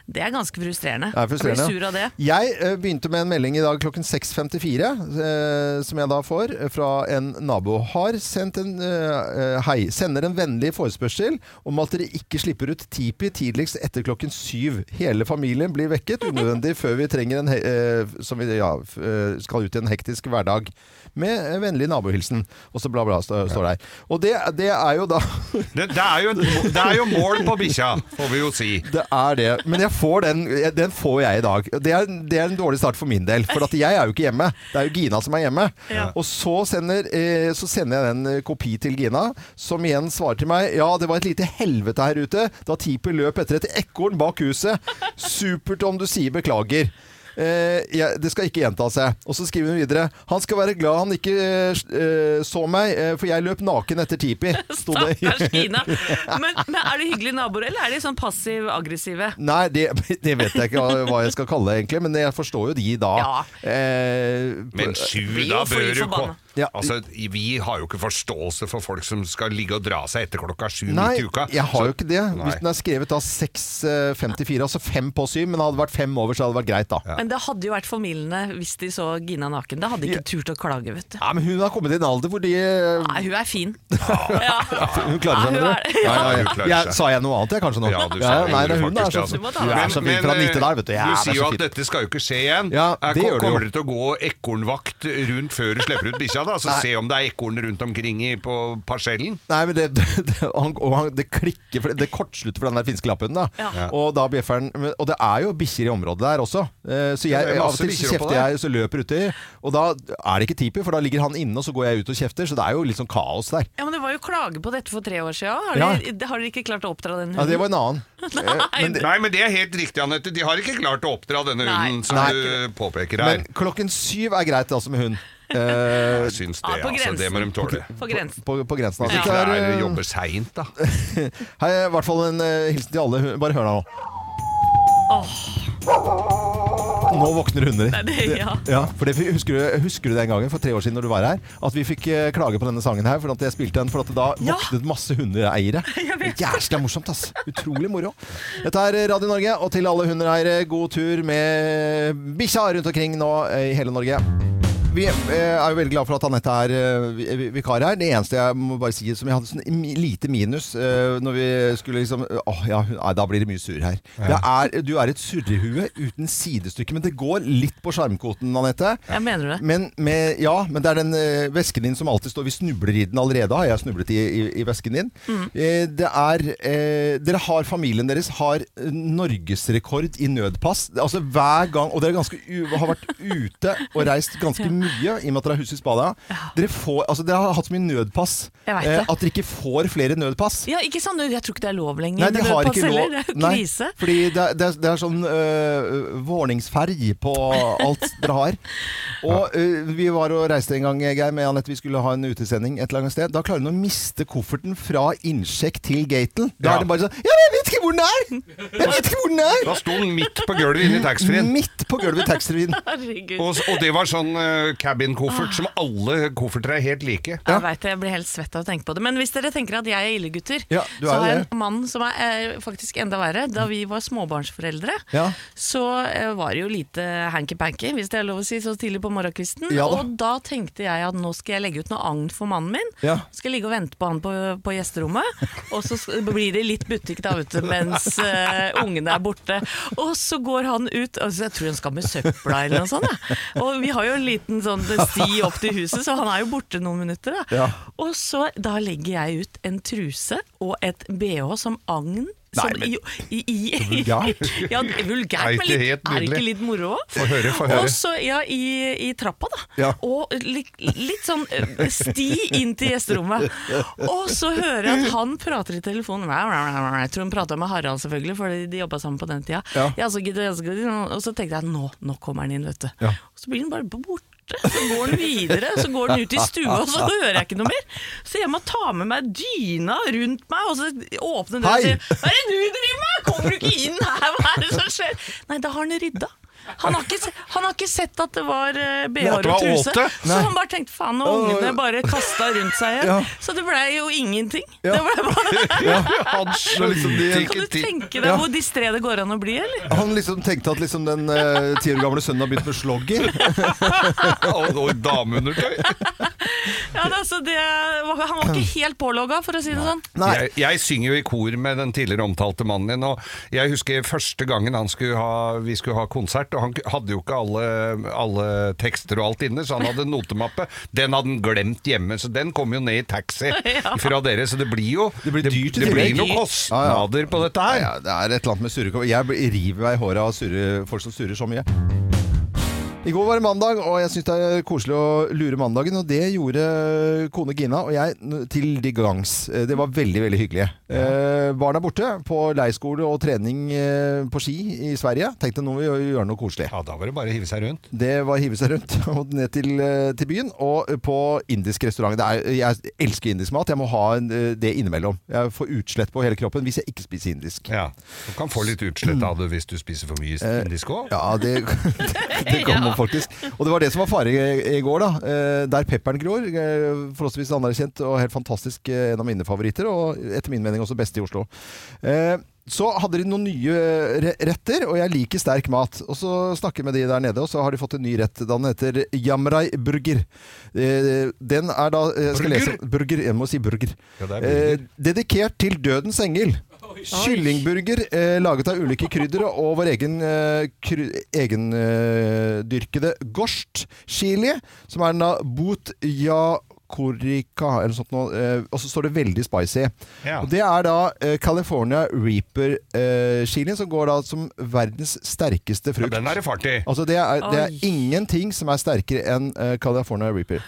[SPEAKER 2] Det er ganske frustrerende.
[SPEAKER 1] Det er frustrerende.
[SPEAKER 2] Jeg blir sur av det.
[SPEAKER 1] Jeg eh, begynte med en melding i dag klokken 6.54, eh, som jeg da får eh, fra en nabo. Har sendt en eh, eh, hei. Sender en vennlig forespørsel om at dere ikke slipper ut Tipi tidligst etter klokken syv. Hele familien blir vekket unødvendig før vi trenger en he eh, som vi ja, f- eh, skal ut i en hektisk hverdag. Med eh, vennlig nabohilsen. Og så bla, bla, stå- står det her. Og det, det er jo da [LAUGHS]
[SPEAKER 3] Det, det, er jo, et- det er jo mål på bikkja, får vi jo si.
[SPEAKER 1] Det er det. Men jeg får den, den får jeg i dag. Det er, det er en dårlig start for min del. For at jeg er jo ikke hjemme. Det er jo Gina som er hjemme. Og så sender, eh, så sender jeg en kopi til Gina, som igjen svarer til meg Ja, det var et lite helvete her ute da Tipi løp etter et ekorn bak huset. Supert om du sier beklager. Eh, jeg, det skal ikke gjenta seg. Og så skriver hun videre Han skal være glad han ikke eh, så meg, eh, for jeg løp naken etter Tipi. Sto det i
[SPEAKER 2] Stakkars Kina. Men, men er det hyggelige naboer, eller er de sånn passiv-aggressive?
[SPEAKER 1] Nei, det, [LAUGHS] det vet jeg ikke hva- hva jeg skal kalle det, egentlig. Men jeg forstår jo de da.
[SPEAKER 2] Ja.
[SPEAKER 1] Eh,
[SPEAKER 3] Men
[SPEAKER 2] blir
[SPEAKER 3] sju,
[SPEAKER 2] jo
[SPEAKER 3] da
[SPEAKER 2] fly
[SPEAKER 3] bør du
[SPEAKER 2] forbanna.
[SPEAKER 3] komme
[SPEAKER 1] Ja.
[SPEAKER 3] Altså, vi har jo ikke forståelse for folk som skal ligge og dra seg etter klokka sju
[SPEAKER 1] Nei,
[SPEAKER 3] midt i uka.
[SPEAKER 1] jeg har jo
[SPEAKER 3] Så-
[SPEAKER 1] ikke det.
[SPEAKER 3] Nei.
[SPEAKER 1] Hvis den er skrevet da 6.54, altså fem på syv, men det hadde vært fem over, så hadde det vært greit, da.
[SPEAKER 2] Men det hadde jo vært formildende hvis de så Gina naken. Da hadde de ikke turt å klage, vet du.
[SPEAKER 1] Nei, men hun har kommet i en alder hvor de eh,
[SPEAKER 2] Nei, hun er fin. Ja.
[SPEAKER 1] Hun klarer seg,
[SPEAKER 2] Nei, hun
[SPEAKER 1] mener du?
[SPEAKER 2] er det.
[SPEAKER 1] Ja, ja,
[SPEAKER 3] Hun
[SPEAKER 1] ja.
[SPEAKER 3] klarer
[SPEAKER 1] Jeg,
[SPEAKER 3] seg.
[SPEAKER 1] sa jeg noe annet, jeg, kanskje nå?
[SPEAKER 3] Ja,
[SPEAKER 1] nei,
[SPEAKER 3] du sa det,
[SPEAKER 1] hun
[SPEAKER 3] gjorde
[SPEAKER 1] er
[SPEAKER 3] faktisk
[SPEAKER 1] så,
[SPEAKER 3] det, altså.
[SPEAKER 2] Du må ta
[SPEAKER 1] hun er
[SPEAKER 2] den.
[SPEAKER 1] så fin fra
[SPEAKER 3] eh,
[SPEAKER 1] Nittedal, vet du. Ja,
[SPEAKER 3] du
[SPEAKER 1] det er
[SPEAKER 3] sier
[SPEAKER 1] så
[SPEAKER 3] jo at
[SPEAKER 1] fint.
[SPEAKER 3] dette skal jo ikke skje igjen.
[SPEAKER 1] Ja,
[SPEAKER 3] Eh,
[SPEAKER 1] det
[SPEAKER 3] kom-
[SPEAKER 1] gjør det jo.
[SPEAKER 3] Kommer dere til å gå ekornvakt rundt før du slipper ut bikkja, da? Så se om det er ekorn rundt omkring i, på parsellen?
[SPEAKER 1] Nei, men det, [LAUGHS] det, det, han, og han, det klikker, for det, det kortslutter for den der finske lapphunden. Da.
[SPEAKER 2] Ja.
[SPEAKER 1] Og da bjeffer han men- Og det er jo bikkjer i området der også. Eh, Så
[SPEAKER 3] det
[SPEAKER 1] jeg,
[SPEAKER 3] er
[SPEAKER 1] av og
[SPEAKER 3] masse
[SPEAKER 1] til så
[SPEAKER 3] bikkjer oppå
[SPEAKER 1] kjefter
[SPEAKER 3] der.
[SPEAKER 1] jeg, så løper jeg uti. Og da er det ikke tipi, for da ligger han inne, og så går jeg ut og kjefter. Så det er jo litt sånn kaos der.
[SPEAKER 2] Ja, men det var jo klage på dette for tre år siden. Har
[SPEAKER 1] Ja.
[SPEAKER 2] de, har de ikke klart å oppdra den
[SPEAKER 1] Ja, det
[SPEAKER 2] hunden?
[SPEAKER 1] var en annen.
[SPEAKER 2] [LAUGHS]
[SPEAKER 1] Eh, Men, det-
[SPEAKER 3] Nei, men det er helt riktig, Anette. De har ikke klart å oppdra denne
[SPEAKER 2] Nei.
[SPEAKER 3] hunden som
[SPEAKER 1] Nei.
[SPEAKER 3] du påpeker her.
[SPEAKER 1] men klokken syv er greit, altså, med hund. Eh,
[SPEAKER 3] Jeg syns det,
[SPEAKER 2] Ja, på
[SPEAKER 3] altså. Det må de tåle.
[SPEAKER 2] På grensen.
[SPEAKER 1] På, på grensen.
[SPEAKER 3] Hvis
[SPEAKER 1] Altså.
[SPEAKER 3] ikke det er
[SPEAKER 1] eh,
[SPEAKER 3] jobber seint, da.
[SPEAKER 1] [LAUGHS] Hei, i hvert fall en eh, hilsen til alle. Bare hør nå. Nå våkner hunder.
[SPEAKER 2] Nei, det, ja.
[SPEAKER 1] Ja, for det, husker, du, husker du den gangen for tre år siden når du var her, at vi fikk eh, klage på denne sangen her, for at jeg spilte den, for at det da
[SPEAKER 2] Ja.
[SPEAKER 1] våknet masse hundeeiere. Jævlig morsomt, ass. Utrolig moro. Dette er Radio Norge, og til alle hundeeiere, god tur med bikkja rundt omkring nå eh, i hele Norge. Vi eh, er jo veldig glad for at Anette er eh, vi- vi- vikar her. Det eneste jeg må bare si som jeg hadde sånn mi- lite minus eh, når vi skulle liksom Åh, ja, hun- nei, da blir det mye surr her. Det er, du er et surrehue uten sidestykke, men det går litt på sjarmkvoten, Anette.
[SPEAKER 2] Jeg mener du det?
[SPEAKER 1] Men, med, ja, men det er den eh, vesken din som alltid står Vi snubler i den allerede, har jeg snublet i, i, i vesken din.
[SPEAKER 2] Mm.
[SPEAKER 1] Eh, det er eh, Dere har Familien deres har eh, norgesrekord i nødpass. Altså hver gang Og dere er ganske u, har vært ute og reist
[SPEAKER 2] [LAUGHS]
[SPEAKER 1] ganske mye i og med at dere har hus i Spania. Dere, får, altså, dere har hatt så mye nødpass
[SPEAKER 2] Jeg vet
[SPEAKER 1] eh,
[SPEAKER 2] det.
[SPEAKER 1] at dere ikke får flere nødpass.
[SPEAKER 2] Ja, ikke sant? Jeg tror ikke det er lov lenger.
[SPEAKER 1] Nei, de
[SPEAKER 2] med
[SPEAKER 1] har
[SPEAKER 2] nødpass
[SPEAKER 1] ikke lov.
[SPEAKER 2] heller. Det er jo
[SPEAKER 1] Nei,
[SPEAKER 2] Krise.
[SPEAKER 1] fordi det, er- det, er- det er sånn øh, våningsferg på alt dere har. Og øh, vi var og reiste en gang, Geir, med Anette. Vi skulle ha en utesending et eller annet sted. Da klarer hun å miste kofferten fra innsjekk til gaten. Da
[SPEAKER 3] Ja.
[SPEAKER 1] er det bare sånn Ja, men jeg vet ikke hvor den er! Jeg vet ikke hvor den er!
[SPEAKER 3] Da sto den midt på gulvet inne i taxfree-en.
[SPEAKER 1] Midt på gulvet i taxfree-en.
[SPEAKER 2] Herregud.
[SPEAKER 3] Og, og det var sånn eh, cabin-koffert som alle kofferter er helt
[SPEAKER 1] [LAUGHS]
[SPEAKER 3] like.
[SPEAKER 2] Jeg vet det, jeg blir helt svett av å tenke på det. Men hvis dere tenker at jeg er ille gutter,
[SPEAKER 1] Ja, du er jo
[SPEAKER 2] så har jeg
[SPEAKER 1] det.
[SPEAKER 2] en mann som er eh, faktisk enda verre. Da vi var småbarnsforeldre,
[SPEAKER 1] Ja.
[SPEAKER 2] så eh, var det jo lite hanky-panky, hvis det er lov å si, så tidlig på morgenkvisten.
[SPEAKER 1] Ja da.
[SPEAKER 2] og da tenkte jeg at nå skal jeg legge ut noe agn for mannen min.
[SPEAKER 1] Ja.
[SPEAKER 2] Skal ligge og vente på han på, på gjesterommet. Og så s- blir det litt butikk da, vet du, mens eh, ungene er borte. Og så går han ut, altså, jeg tror han skal med søpla eller noe sånt. Ja. Og vi har jo en liten sånn sti opp til huset, så han er jo borte noen minutter. Da.
[SPEAKER 1] Ja.
[SPEAKER 2] Og så da legger jeg ut en truse og et bh som agn.
[SPEAKER 1] Nei,
[SPEAKER 2] som
[SPEAKER 1] men-
[SPEAKER 2] jo- i, i,
[SPEAKER 1] vulgært.
[SPEAKER 2] [LAUGHS] ja, det er vulgært,
[SPEAKER 3] Er ikke
[SPEAKER 2] men
[SPEAKER 3] helt
[SPEAKER 2] litt, er det ikke
[SPEAKER 3] nydelig?
[SPEAKER 2] litt moro òg?
[SPEAKER 3] Få høre, få høre.
[SPEAKER 2] Og så, ja, i, i trappa, da.
[SPEAKER 1] Ja.
[SPEAKER 2] Og litt, litt sånn ø, sti inn til gjesterommet. Og så hører jeg at han prater i telefonen. Jeg tror han prata med Harald, selvfølgelig, for de jobba sammen på den tida.
[SPEAKER 1] Ja.
[SPEAKER 2] Ja, så gidder jeg- så gidder jeg- Og så tenkte jeg nå, nå kommer han inn, vet du.
[SPEAKER 1] Ja.
[SPEAKER 2] Og så blir han bare borte. Så går han videre, så går han ut i stua, og så hører jeg ikke noe mer. Så jeg må ta med meg dyna rundt meg, og så åpne døra og
[SPEAKER 1] Hei!
[SPEAKER 2] si Hva er det du driver med? Kommer du ikke inn her? Hva er det som skjer? Nei, da har han rydda. Han har ikke, se- han har ikke sett at det var eh, BH
[SPEAKER 3] At det var
[SPEAKER 2] og truse.
[SPEAKER 3] åte?
[SPEAKER 2] Så
[SPEAKER 1] Nei.
[SPEAKER 2] han bare tenkte faen, og
[SPEAKER 1] Åh.
[SPEAKER 2] ungene bare kasta rundt seg igjen.
[SPEAKER 1] Ja.
[SPEAKER 2] Så det blei jo ingenting.
[SPEAKER 1] Ja.
[SPEAKER 2] Det ble
[SPEAKER 1] [LAUGHS]
[SPEAKER 2] bare,
[SPEAKER 3] Han skjønte
[SPEAKER 2] kan
[SPEAKER 3] ikke
[SPEAKER 2] du
[SPEAKER 3] ting.
[SPEAKER 2] tenke deg
[SPEAKER 1] Ja.
[SPEAKER 2] hvor distré det går an å bli, eller?
[SPEAKER 1] Han liksom tenkte at liksom den eh, ti år gamle sønnen har begynt med slogger.
[SPEAKER 3] [LAUGHS] Og og dameundertøy.
[SPEAKER 2] Ja, det, altså, det, var- han var ikke helt pålogga, for å si det sånn.
[SPEAKER 1] Nei.
[SPEAKER 3] Jeg, jeg synger jo i kor med den tidligere omtalte mannen din, og jeg husker første gangen han skulle ha, vi skulle ha konsert, og han hadde jo ikke alle, alle tekster og alt inne, så han hadde en notemappe. Den hadde han glemt hjemme, så den kom jo ned i
[SPEAKER 1] [LAUGHS]
[SPEAKER 3] taxi
[SPEAKER 2] Ja.
[SPEAKER 3] fra dere, så det blir jo
[SPEAKER 1] Det blir dyrt i
[SPEAKER 3] det,
[SPEAKER 1] tillegg.
[SPEAKER 3] blir noen kostnader på dette
[SPEAKER 1] Nei,
[SPEAKER 3] her.
[SPEAKER 1] ja, det er et eller annet med surrekål. Jeg blir- river meg i håret av surre, folk som surrer så mye. I går var det mandag, og jeg syns det er koselig å lure mandagen. Og det gjorde eh, kone Gina og jeg n- til de gangs. Eh, Det var veldig, veldig hyggelig. Eh, barna er borte på leirskole og trening eh, på ski i Sverige. Tenkte nå må vi gjø- gjøre noe koselig.
[SPEAKER 3] Ja, da var det bare å hive seg rundt.
[SPEAKER 1] Det var å hive seg rundt [LAUGHS] og ned til, eh, til byen. Og på indisk restaurant. Det er, jeg elsker indisk mat. Jeg må ha en, eh, det innimellom. Jeg får utslett på hele kroppen hvis jeg ikke spiser indisk.
[SPEAKER 3] Ja, Du kan få litt utslett av det hvis du spiser for mye indisk òg.
[SPEAKER 1] Eh, Ja, det, [LAUGHS] det kommer faktisk. Og det var det som var fare i, i går, da. Eh, Der pepperen gror. eh, Forholdsvis anerkjent og helt fantastisk. eh, En av mine favoritter, og etter min mening også beste i Oslo. Eh, Så hadde de noen nye re- retter, og jeg liker sterk mat. Og så snakker jeg med de der nede, og så har de fått en ny rett. Den heter Jamrai burger. Eh, Den er da eh, skal jeg
[SPEAKER 3] Burger?
[SPEAKER 1] lese, burger? Jeg må si burger.
[SPEAKER 3] Ja, det er burger.
[SPEAKER 1] Eh, Dedikert til dødens engel. Kyllingburger eh, laget av ulike krydder og vår egen eh, egendyrkede eh, gorst chili, som er en av boot ja korika, eller noe sånt noe. Eh, og så står det veldig spicy.
[SPEAKER 3] Ja.
[SPEAKER 1] Og det er da eh, California Reaper eh, chilien, som går da som verdens sterkeste frukt.
[SPEAKER 3] Den er det fart i.
[SPEAKER 1] Altså det er, det er
[SPEAKER 2] Oi.
[SPEAKER 1] ingenting som er sterkere enn eh, California Reaper.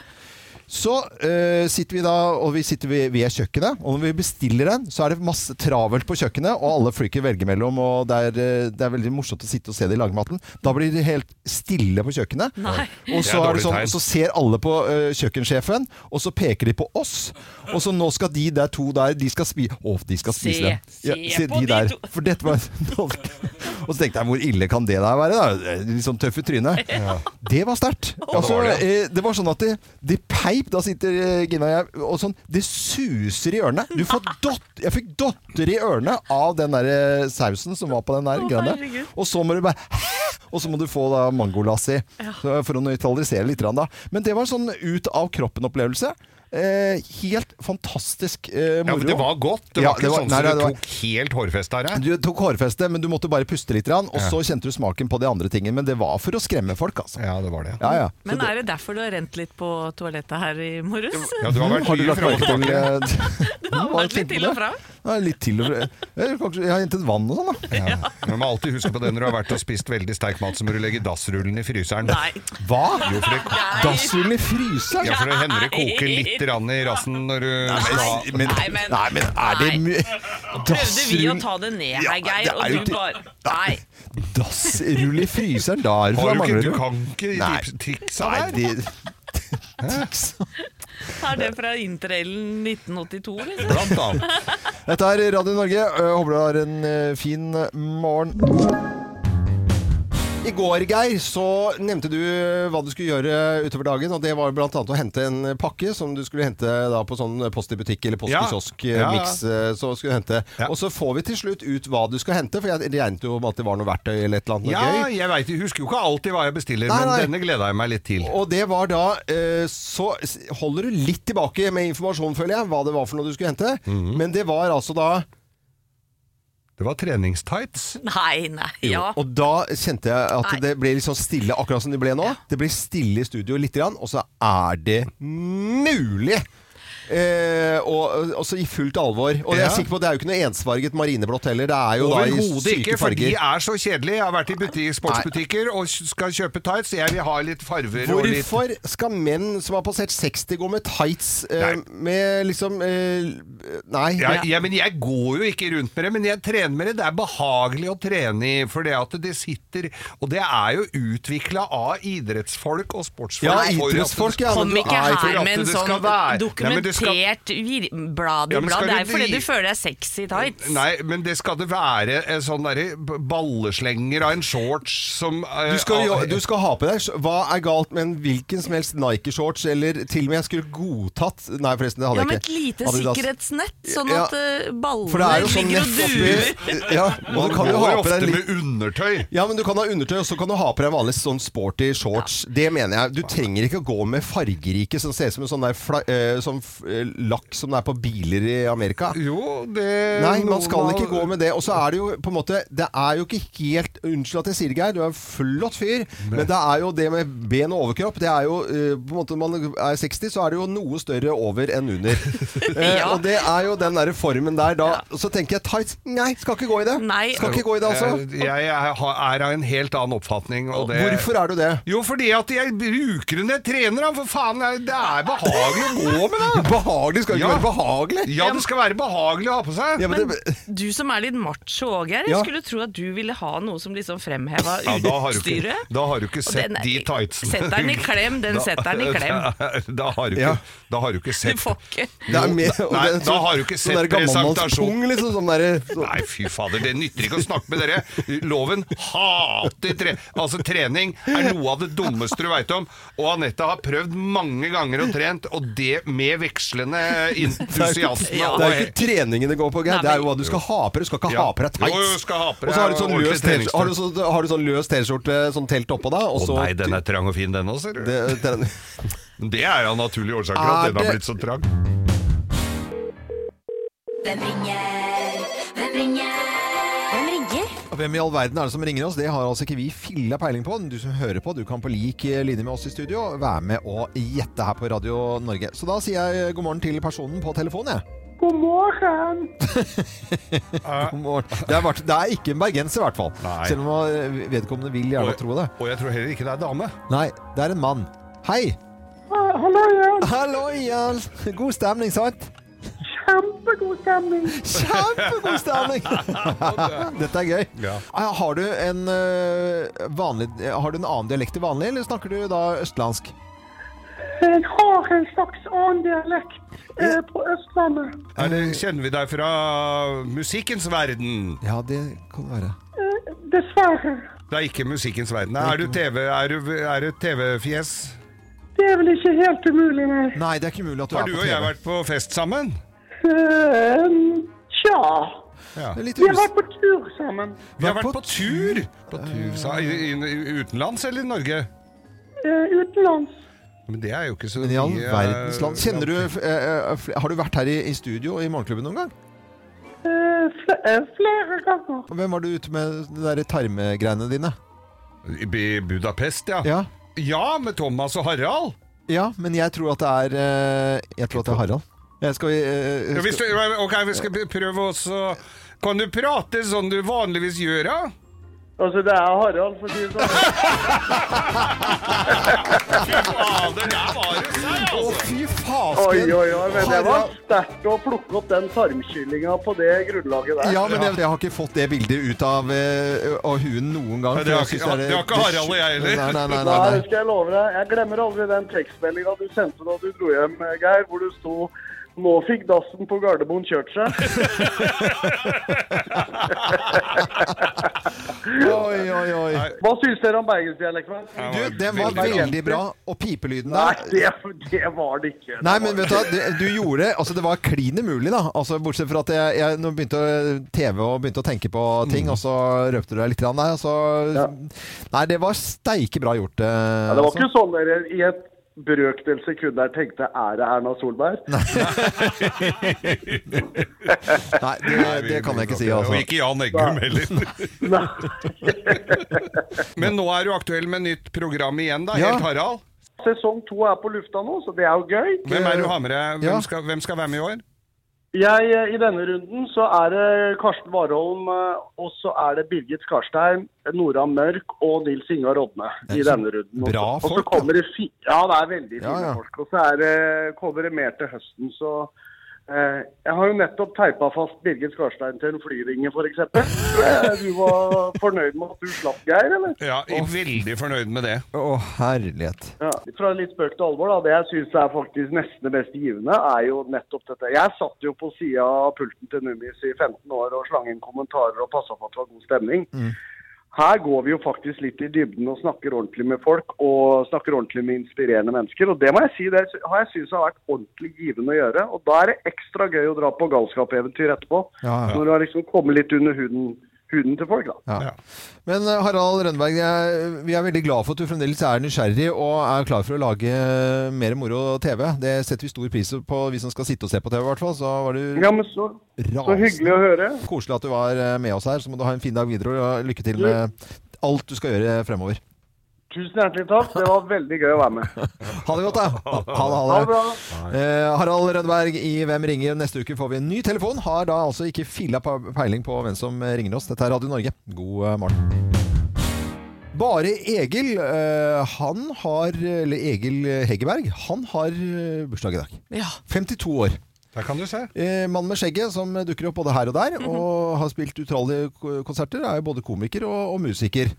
[SPEAKER 1] Så eh, sitter vi da og vi sitter ved, ved kjøkkenet, og når vi bestiller en, så er det masse travelt på kjøkkenet, og alle flyker velger mellom, og det er, eh, det er veldig morsomt å sitte og se det i lagmaten. Da blir det helt stille på kjøkkenet. Og
[SPEAKER 3] Det
[SPEAKER 1] så, er
[SPEAKER 3] er
[SPEAKER 1] det
[SPEAKER 3] dårlig
[SPEAKER 1] sånn,
[SPEAKER 3] tegn.
[SPEAKER 1] så ser alle på eh, kjøkkensjefen, og så peker de på oss. Og så nå skal de der to der, de skal spise Å, de skal
[SPEAKER 2] Se,
[SPEAKER 1] spise den.
[SPEAKER 2] se på de to.
[SPEAKER 1] For dette var [LAUGHS] Og så tenkte jeg, hvor ille kan det der være? da? Litt sånn tøff i trynet. Det var sterkt. Altså,
[SPEAKER 3] var
[SPEAKER 1] eh,
[SPEAKER 3] det,
[SPEAKER 1] det, var sånn at det, det peip, da sitter eh, Gina og jeg, og sånn, det suser i ørene. Du får dott, jeg fikk dotter i ørene av den der eh, sausen som var på den der
[SPEAKER 2] Å,
[SPEAKER 1] grønne.
[SPEAKER 2] herregud.
[SPEAKER 1] Og så må du bare Hæ? Og så må du få da mangolas i. Så For å nøytralisere litt. grann Da. Men det var en sånn ut av kroppen-opplevelse. Eh, helt fantastisk eh,
[SPEAKER 3] Ja,
[SPEAKER 1] moro.
[SPEAKER 3] men Det var godt. Det
[SPEAKER 1] Ja,
[SPEAKER 3] var ikke
[SPEAKER 1] det var-
[SPEAKER 3] sånn
[SPEAKER 1] nei,
[SPEAKER 3] som
[SPEAKER 1] nei,
[SPEAKER 3] du
[SPEAKER 1] det var-
[SPEAKER 3] tok helt hårfeste av deg.
[SPEAKER 1] Du tok hårfeste, men du måtte bare puste litt. Grann, og så kjente du smaken på de andre tingene. Men det var for å skremme folk, altså.
[SPEAKER 3] Ja, det var det.
[SPEAKER 1] Ja, ja. Så
[SPEAKER 2] Men
[SPEAKER 1] det-
[SPEAKER 2] er det derfor du har rent litt på toalettet her i morges?
[SPEAKER 3] Ja, du har
[SPEAKER 1] Mm,
[SPEAKER 3] vært
[SPEAKER 1] Har du
[SPEAKER 3] mye
[SPEAKER 1] lagt
[SPEAKER 3] frem
[SPEAKER 1] merke
[SPEAKER 3] og
[SPEAKER 1] til eh,
[SPEAKER 3] tilbake.
[SPEAKER 1] [LAUGHS] Du
[SPEAKER 2] har vært litt til og fra.
[SPEAKER 1] Ja, litt til og fra. Eh, Jeg, kanskje, jeg har hentet vann og sånn, da.
[SPEAKER 3] Ja. Men Du må alltid huske på det når du har vært og spist veldig sterk mat, så må du legge dassrullen i fryseren.
[SPEAKER 2] Nei.
[SPEAKER 1] Hva?
[SPEAKER 3] Jo, for det,
[SPEAKER 1] Dassrullen i fryseren?
[SPEAKER 3] ja, for det hender det koker litt rann i rassen når du
[SPEAKER 1] Nei, men,
[SPEAKER 2] Nei, men-
[SPEAKER 1] nei, men er det
[SPEAKER 2] Nei.
[SPEAKER 1] mye
[SPEAKER 2] Prøvde vi å
[SPEAKER 1] Dassrull
[SPEAKER 2] ta det ned
[SPEAKER 1] Ja,
[SPEAKER 2] her, Geir,
[SPEAKER 1] det er jo
[SPEAKER 2] og du
[SPEAKER 1] ikke-
[SPEAKER 2] bare Nei.
[SPEAKER 1] Dassrull i fryseren? Da er det
[SPEAKER 3] har
[SPEAKER 1] fra
[SPEAKER 3] du, ikke, du
[SPEAKER 1] Manglerud.
[SPEAKER 3] kan ikke
[SPEAKER 1] Nei.
[SPEAKER 3] tips- triksa
[SPEAKER 1] Nei,
[SPEAKER 3] der.
[SPEAKER 1] de [LAUGHS] Triks.
[SPEAKER 2] Er det fra interrailen 1982, liksom?
[SPEAKER 3] Blant annet.
[SPEAKER 1] Dette er Radio Norge. Jeg håper du har en eh, fin morgen. I går, Geir, så nevnte du eh, hva du skulle gjøre utover dagen. Og det var bl.a. å hente en pakke som du skulle hente da på sånn Post i butikk eller Post i
[SPEAKER 3] Ja.
[SPEAKER 1] kiosk
[SPEAKER 3] Ja, ja.
[SPEAKER 1] mix. eh, Så skulle du hente.
[SPEAKER 3] Ja.
[SPEAKER 1] Og så får vi til slutt ut hva du skal hente, for jeg regnet jo med at det var noe verktøy eller et eller annet
[SPEAKER 3] Ja,
[SPEAKER 1] noe gøy.
[SPEAKER 3] jeg vet, jeg husker jo ikke alltid hva jeg bestiller,
[SPEAKER 1] Nei, nei.
[SPEAKER 3] men denne gleda jeg meg litt til.
[SPEAKER 1] Og det var da eh, Så holder du litt tilbake med informasjon, føler jeg, hva det var for noe du skulle hente.
[SPEAKER 3] Mhm.
[SPEAKER 1] Men det var altså da
[SPEAKER 3] Det var treningstights.
[SPEAKER 2] Nei, nei. Ja.
[SPEAKER 1] Og da kjente jeg at
[SPEAKER 2] Nei.
[SPEAKER 1] det ble litt sånn stille, akkurat som det ble nå. Det ble stille i studio litt, grann, og så er det mulig! Eh, og, og så i fullt alvor. Og jeg
[SPEAKER 3] Ja.
[SPEAKER 1] er sikker på at det er jo ikke noe ensfarget marineblått heller. Det er jo da i
[SPEAKER 3] Overhodet
[SPEAKER 1] syke
[SPEAKER 3] ikke, for de
[SPEAKER 1] farger.
[SPEAKER 3] er så kjedelige. Jeg har vært i butikk, sportsbutikker og skal kjøpe tights. Jeg vil ha litt farver og litt
[SPEAKER 1] Hvorfor skal menn som har passert 60 gå med tights eh,
[SPEAKER 3] Nei.
[SPEAKER 1] med liksom eh, [LAUGHS] Nei.
[SPEAKER 3] Ja, ja, men jeg går jo ikke rundt med det, men jeg trener med det. Det er behagelig å trene i, for det at det sitter Og det er jo utvikla av idrettsfolk og sportsfolk.
[SPEAKER 1] Ja,
[SPEAKER 3] for at det-
[SPEAKER 1] idrettsfolk, ja. men
[SPEAKER 2] Kom
[SPEAKER 1] du
[SPEAKER 2] ikke
[SPEAKER 1] er-
[SPEAKER 2] her
[SPEAKER 3] for at
[SPEAKER 2] med en
[SPEAKER 3] det
[SPEAKER 2] sånn
[SPEAKER 3] skal være- Nei, men det
[SPEAKER 2] provosert vir- blad i
[SPEAKER 3] Ja, men
[SPEAKER 2] blad.
[SPEAKER 3] skal
[SPEAKER 2] Det er
[SPEAKER 3] du
[SPEAKER 2] fordi
[SPEAKER 3] dri-
[SPEAKER 2] du føler deg sexy tights.
[SPEAKER 3] Nei, men det skal det være en sånn derre b- balleslenger av en shorts som eh,
[SPEAKER 1] Du skal, jo,
[SPEAKER 3] ah,
[SPEAKER 1] du skal ha på deg Hva er galt med en hvilken som helst Nike-shorts, eller til og med jeg skulle godtatt Nei, forresten, det hadde
[SPEAKER 2] Ja,
[SPEAKER 1] jeg
[SPEAKER 2] med et
[SPEAKER 1] ikke.
[SPEAKER 2] lite
[SPEAKER 1] Adidas.
[SPEAKER 2] sikkerhetsnett, sånn
[SPEAKER 1] Ja.
[SPEAKER 2] at
[SPEAKER 1] For
[SPEAKER 2] eh,
[SPEAKER 1] det
[SPEAKER 2] ballene
[SPEAKER 1] er jo sånn
[SPEAKER 2] ligger og
[SPEAKER 1] nett
[SPEAKER 2] duer.
[SPEAKER 1] oppi [LAUGHS] Ja, og
[SPEAKER 3] Man
[SPEAKER 1] du kan jo
[SPEAKER 3] går
[SPEAKER 1] ha
[SPEAKER 3] jo
[SPEAKER 1] på deg
[SPEAKER 3] ofte
[SPEAKER 1] en litt
[SPEAKER 3] med undertøy.
[SPEAKER 1] ja, men Du kan ha undertøy, og så kan du ha på deg vanlig sånn sporty shorts. Det mener jeg. Du trenger ikke å gå med fargerike som ser ut som en sånn der fla, eh, sånn f- eh, lakk som det er på biler i Amerika.
[SPEAKER 3] Jo, det
[SPEAKER 1] Nei, man skal
[SPEAKER 3] noen av-
[SPEAKER 1] ikke gå med det. Og så er det jo på en måte Det er jo ikke helt Unnskyld at jeg sier det, Geir, du er en flott fyr, men det er jo det med ben og overkropp Det er jo eh, på en måte Når man er 60, så er det jo noe større over enn
[SPEAKER 3] [LAUGHS]
[SPEAKER 1] under. Eh,
[SPEAKER 2] Ja.
[SPEAKER 1] Og det er jo den derre formen der da. Så tenker jeg tights Nei, skal ikke gå i det.
[SPEAKER 2] Nei.
[SPEAKER 1] Skal ikke gå i det, altså.
[SPEAKER 3] Jeg, jeg er er av en helt annen oppfatning. Og Eh, det,
[SPEAKER 1] Hvorfor er du det?
[SPEAKER 3] Jo, fordi at jeg bruker den jeg trener, da. For faen, jeg- det er behagelig å gå med, da.
[SPEAKER 1] [LAUGHS] Behagelig skal ikke
[SPEAKER 3] Ja.
[SPEAKER 1] være behagelig.
[SPEAKER 3] Ja, det skal være behagelig å ha på seg.
[SPEAKER 1] Ja, men
[SPEAKER 2] Men
[SPEAKER 1] det,
[SPEAKER 2] du som er litt macho òg, Geir, jeg
[SPEAKER 1] Ja.
[SPEAKER 2] skulle tro at du ville ha noe som liksom fremheva
[SPEAKER 3] Ja, da har du ikke,
[SPEAKER 2] utstyret.
[SPEAKER 3] da har du ikke
[SPEAKER 2] Og
[SPEAKER 3] sett
[SPEAKER 2] den er-
[SPEAKER 3] de tightsene.
[SPEAKER 2] Setter den i
[SPEAKER 3] [LAUGHS]
[SPEAKER 2] klem, den setter den i klem.
[SPEAKER 3] Da har du
[SPEAKER 1] Ja.
[SPEAKER 3] ikke, da har du ikke
[SPEAKER 2] Du
[SPEAKER 3] sett
[SPEAKER 2] får ikke
[SPEAKER 1] det er [LAUGHS] mer,
[SPEAKER 3] Jo, nei, da har du ikke sett
[SPEAKER 1] sånn der
[SPEAKER 3] presentasjon.
[SPEAKER 1] gammelmannspung, liksom. Sånn derre sånn.
[SPEAKER 3] Nei, fy fader, det nytter ikke å snakke med dere. Loven hater tre... Altså, trening er noe av det dummeste du veit om. Og Anette har prøvd mange ganger og trent, og det med vekslende entusiasme.
[SPEAKER 2] Ja.
[SPEAKER 1] Det er jo ikke treningen det går på, Geir.
[SPEAKER 2] Nei,
[SPEAKER 1] Det er jo
[SPEAKER 2] men-
[SPEAKER 1] hva du skal ha på deg. Du skal ikke
[SPEAKER 3] Ja.
[SPEAKER 1] ha på deg tights.
[SPEAKER 3] Jo, jo, skal ha på deg
[SPEAKER 1] og så har du sånn
[SPEAKER 3] ordentlig
[SPEAKER 1] løs T-skjorte-
[SPEAKER 3] treningstøy.
[SPEAKER 1] har du sånn- har du sånn løs T-skjorte, sånn telt oppå deg, og
[SPEAKER 3] Å
[SPEAKER 1] så
[SPEAKER 3] nei, den er trang og fin, den òg, ser du. Altså, Det, Ah,
[SPEAKER 1] det,
[SPEAKER 3] [LAUGHS]
[SPEAKER 1] den,
[SPEAKER 3] er av naturlige årsaker at
[SPEAKER 1] Er
[SPEAKER 3] den har
[SPEAKER 1] det-
[SPEAKER 3] blitt så trang.
[SPEAKER 5] Hvem ringer? Hvem ringer? Hvem ringer?
[SPEAKER 1] Hvem i all verden er det som ringer oss? Det har altså ikke vi filla peiling på. Du som hører på, du kan på lik eh, linje med oss i studio være med og gjette her på Radio Norge. Så da sier jeg eh, god morgen til personen på telefonen, jeg. [LAUGHS] God morgen. Det er, vart- det er ikke en bergenser, i hvert fall.
[SPEAKER 3] Eh. Nei.
[SPEAKER 1] Selv om eh, vedkommende vil gjerne tro det.
[SPEAKER 3] Og jeg tror heller ikke det er dame.
[SPEAKER 1] Nei, det er en mann. Hei!
[SPEAKER 6] Hallo igjen.
[SPEAKER 1] Hallo, Jarl! God stemning, sant?
[SPEAKER 6] Kjempegod stemning.
[SPEAKER 1] Kjempegod [LAUGHS] stemning! Dette er gøy.
[SPEAKER 3] Ja.
[SPEAKER 1] Ah, Har du en eh, vanlig Har du en annen dialekt til vanlig, eller snakker du da østlandsk?
[SPEAKER 6] Jeg Eh, har en slags annen dialekt eh, på Østlandet.
[SPEAKER 3] Er det, kjenner vi deg fra musikkens verden?
[SPEAKER 1] Ja, det kan det være.
[SPEAKER 6] Eh, Dessverre.
[SPEAKER 3] Det er ikke musikkens verden. Er du TV, er du, er du TV-fjes?
[SPEAKER 6] Det er vel ikke helt umulig, nei.
[SPEAKER 1] Nei, det er ikke mulig at du er
[SPEAKER 3] Har du
[SPEAKER 1] på
[SPEAKER 3] og
[SPEAKER 1] TV.
[SPEAKER 3] jeg vært på fest sammen?
[SPEAKER 6] Eh, Tja.
[SPEAKER 3] Ja.
[SPEAKER 1] Det er litt
[SPEAKER 6] Vi har
[SPEAKER 1] us...
[SPEAKER 6] vært på tur sammen.
[SPEAKER 3] Vi har vært på tur! På tur sa, i, i, Utenlands eller i Norge?
[SPEAKER 6] Eh, Utenlands.
[SPEAKER 3] Men det er jo ikke så
[SPEAKER 1] Men i all
[SPEAKER 3] mye, eh,
[SPEAKER 1] verdens land Kjenner du eh, eh, fl- Har du vært her i, i studio i Morgenklubben noen gang?
[SPEAKER 6] Eh, fl- eh, Flere ganger.
[SPEAKER 1] Og Hvem var du ute med de der tarmegreiene dine?
[SPEAKER 3] I Bu- Budapest, ja. ja.
[SPEAKER 1] Ja,
[SPEAKER 3] med Thomas og Harald!
[SPEAKER 1] ja men jeg tror at det er eh, Jeg tror at det er Harald. Jeg skal vi eh,
[SPEAKER 3] Ja, hvis
[SPEAKER 1] skal...
[SPEAKER 3] du, ok, vi skal prøve også Kan du prate sånn du vanligvis gjør, da?
[SPEAKER 6] Altså, det er Harald, for å si det sånn.
[SPEAKER 3] Fy fader, der var du sær,
[SPEAKER 1] Å,
[SPEAKER 3] altså!
[SPEAKER 1] fy
[SPEAKER 6] [LAUGHS] Oi,
[SPEAKER 1] fasken!
[SPEAKER 6] oi, oi. Men det var
[SPEAKER 1] Harald.
[SPEAKER 6] sterkt å plukke opp den tarmkyllinga på det grunnlaget der.
[SPEAKER 1] Ja, men jeg, jeg har ikke fått det bildet ut av, eh, av huen noen gang.
[SPEAKER 3] Nei,
[SPEAKER 1] for
[SPEAKER 3] det
[SPEAKER 1] jeg
[SPEAKER 3] har
[SPEAKER 1] synes
[SPEAKER 3] ikke-
[SPEAKER 1] er-
[SPEAKER 3] det har ikke Harald og jeg heller.
[SPEAKER 1] Nei, nei, nei, nei,
[SPEAKER 6] Nei, det
[SPEAKER 1] nei.
[SPEAKER 6] skal jeg love deg. Jeg glemmer aldri den tekstmeldinga du sendte da du dro hjem, eh, Geir, hvor det sto nå fikk dassen på Gardermoen kjørt seg.
[SPEAKER 1] [LAUGHS] Oi, oi, oi.
[SPEAKER 6] Hva syns dere om bergensdialekten?
[SPEAKER 1] Du, den var veldig bra. Og pipelyden
[SPEAKER 6] Nei,
[SPEAKER 1] der
[SPEAKER 6] det, det var det ikke.
[SPEAKER 1] Nei, men vet du hva, det- du gjorde Altså, det var klin umulig, da. Altså, bortsett fra at jeg, jeg nå begynte å TV og begynte å tenke på ting, og så røpte du deg litt grann der. og Så, Nei, det var steike bra gjort. eh,
[SPEAKER 6] Ja, det var
[SPEAKER 1] altså.
[SPEAKER 6] ikke sånn dere i et brøkdel sekund der tenkte er det Erna Solberg?
[SPEAKER 1] Nei, det, det kan jeg ikke si,
[SPEAKER 3] Og
[SPEAKER 1] altså.
[SPEAKER 3] ikke Jan Eggum heller.
[SPEAKER 2] [LAUGHS]
[SPEAKER 6] Nei.
[SPEAKER 3] Men nå er du aktuell med nytt program igjen, da.
[SPEAKER 1] Ja.
[SPEAKER 3] Helt Harald.
[SPEAKER 6] Sesong to er på lufta nå, så det er jo gøy.
[SPEAKER 3] Hvem er du har med deg?
[SPEAKER 1] Ja.
[SPEAKER 3] Hvem skal, hvem skal være med i år?
[SPEAKER 6] Jeg, eh, I denne runden så er det Karsten Warholm, eh, og så er det Birgit Skarstein, Nora Mørk og Nils Ingar Rodne i denne runden.
[SPEAKER 1] bra
[SPEAKER 6] Og så- Og så
[SPEAKER 1] folk, da.
[SPEAKER 6] kommer det fi ja, det er veldig
[SPEAKER 1] Ja,
[SPEAKER 6] fine
[SPEAKER 1] ja.
[SPEAKER 6] folk. Og så er det, kommer det mer til høsten, så Eh, Jeg har jo nettopp teipa fast Birgit Skarstein til en flyvinge, f.eks. Eh, Du var fornøyd med at du slapp, Geir? eller?
[SPEAKER 3] Ja, jeg er veldig fornøyd med det.
[SPEAKER 1] Å, herlighet.
[SPEAKER 6] Ja, fra litt spøk til alvor, da. Det jeg syns er faktisk nesten det mest givende, er jo nettopp dette. Jeg satt jo på sida av pulten til Nummis i 15 år og slang inn kommentarer og passa på at det var god stemning.
[SPEAKER 1] Mm.
[SPEAKER 6] Her går vi jo faktisk litt i dybden og snakker ordentlig med folk, og snakker ordentlig med inspirerende mennesker. Og det må jeg si, det har jeg syntes har vært ordentlig givende å gjøre. Og da er det ekstra gøy å dra på galskapeventyr etterpå.
[SPEAKER 1] Ja, ja.
[SPEAKER 6] Når du har liksom kommet litt under huden, huden til folk, da.
[SPEAKER 1] Ja. Men eh, Harald Rønneberg, jeg- vi er veldig glad for at du fremdeles er nysgjerrig og er klar for å lage eh, mer moro TV. Det setter vi stor pris på, vi som skal sitte og se på TV i hvert fall. Så var du
[SPEAKER 6] Ja, men så, så
[SPEAKER 1] rasende.
[SPEAKER 6] hyggelig å høre.
[SPEAKER 1] Koselig at du var eh, med oss her. Så må du ha en fin dag videre, og lykke til med alt du skal gjøre fremover.
[SPEAKER 6] Tusen hjertelig takk. Det var veldig gøy å være med.
[SPEAKER 1] Ha det godt, da. Ha ha det.
[SPEAKER 6] Ha
[SPEAKER 1] Ha
[SPEAKER 6] det
[SPEAKER 1] det.
[SPEAKER 6] bra.
[SPEAKER 1] Eh, Harald Rønneberg i Hvem ringer? Neste uke får vi en ny telefon. Har da altså ikke filla pe- peiling på hvem som ringer oss. Dette er Radio Norge. God eh, morgen. Bare Egil, eh, han har Eller Egil Heggeberg, han har eh, bursdag i dag.
[SPEAKER 2] Ja.
[SPEAKER 1] 52 år.
[SPEAKER 3] Der kan du se.
[SPEAKER 1] Eh, Mann med skjegget som dukker opp både her og der, og har spilt utallige ko- konserter, er jo både komiker og, og musiker.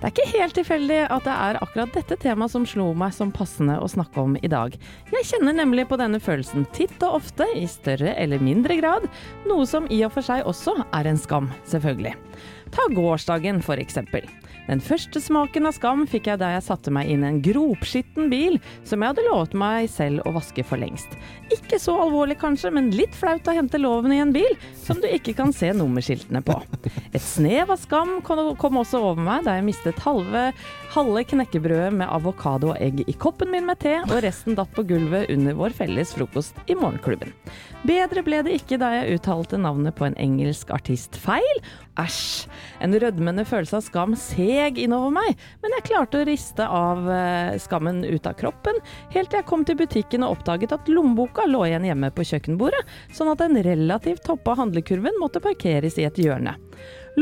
[SPEAKER 2] Det er ikke helt tilfeldig at det er akkurat dette temaet som slo meg som passende å snakke om i dag. Jeg kjenner nemlig på denne følelsen titt og ofte, i større eller mindre grad, noe som i og for seg også er en skam, selvfølgelig. Ta gårsdagen, for eksempel. Den første smaken av skam fikk jeg da jeg satte meg inn i en gropskitten bil som jeg hadde lovet meg selv å vaske for lengst. Ikke så alvorlig kanskje, men litt flaut å hente loven i en bil som du ikke kan se nummerskiltene på. Et snev av skam kom kom også over meg da jeg mistet halve, halve knekkebrødet med avokado og egg i koppen min med te, og resten datt på gulvet under vår felles frokost i morgenklubben. Bedre ble det ikke da jeg uttalte navnet på en engelsk artist feil. Æsj. En rødmende følelse av skam seg innover meg, men jeg klarte å riste av eh, skammen ut av kroppen, helt til jeg kom til butikken og oppdaget at lommeboka lå igjen hjemme på kjøkkenbordet, sånn at den relativt toppa handlekurven måtte parkeres i et hjørne.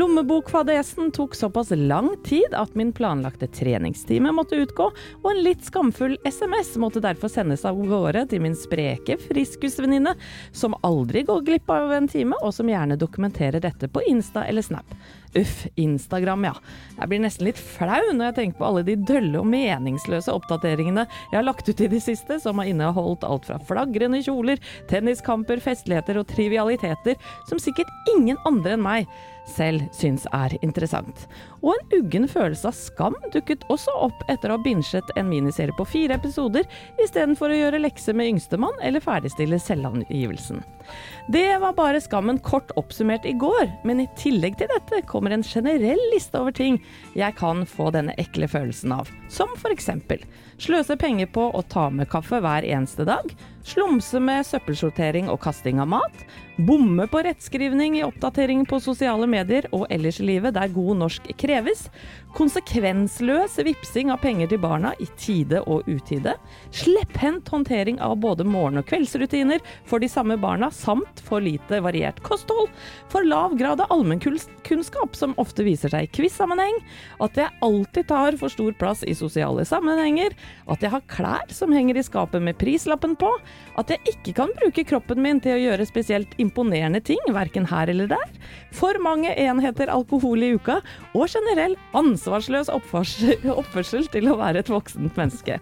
[SPEAKER 2] Lommebokfadesen tok såpass lang tid at min planlagte treningstime måtte utgå, og en litt skamfull SMS måtte derfor sendes av gårde til min spreke friskusvenninne, som aldri går glipp av en time, og som gjerne dokumenterer dette på Insta eller Snap. Uff, Instagram, ja. Jeg blir nesten litt flau når jeg tenker på alle de dølle og meningsløse oppdateringene jeg har lagt ut i det siste, som har inneholdt alt fra flagrende kjoler, tenniskamper, festligheter og trivialiteter som sikkert ingen andre enn meg selv syns er interessant. Og en uggen følelse av skam dukket også opp etter å ha binsjet en miniserie på fire episoder, istedenfor å gjøre lekser med yngstemann eller ferdigstille selvangivelsen. Det var bare skammen kort oppsummert i går, men i tillegg til dette kommer en generell liste over ting jeg kan få denne ekle følelsen av, som f.eks. sløse penger på å ta med kaffe hver eneste dag, slumse med søppelsortering og kasting av mat, bomme på rettskrivning i oppdatering på sosiale medier og ellers i livet der god norsk kreves, konsekvensløs vipsing av penger til barna i tide og utide, slepphendt håndtering av både morgen- og kveldsrutiner for de samme barna, samt for lite variert kosthold, for lav grad av allmennkunnskap som ofte viser seg i quiz-sammenheng, at jeg alltid tar for stor plass i sosiale sammenhenger, at jeg har klær som henger i skapet med prislappen på, at jeg ikke kan bruke kroppen min til å gjøre spesielt imponerende ting, verken her eller der, for mange enheter alkohol i uka, og generell ansvarsløs oppførsel, [LAUGHS] oppførsel til å være et voksent menneske.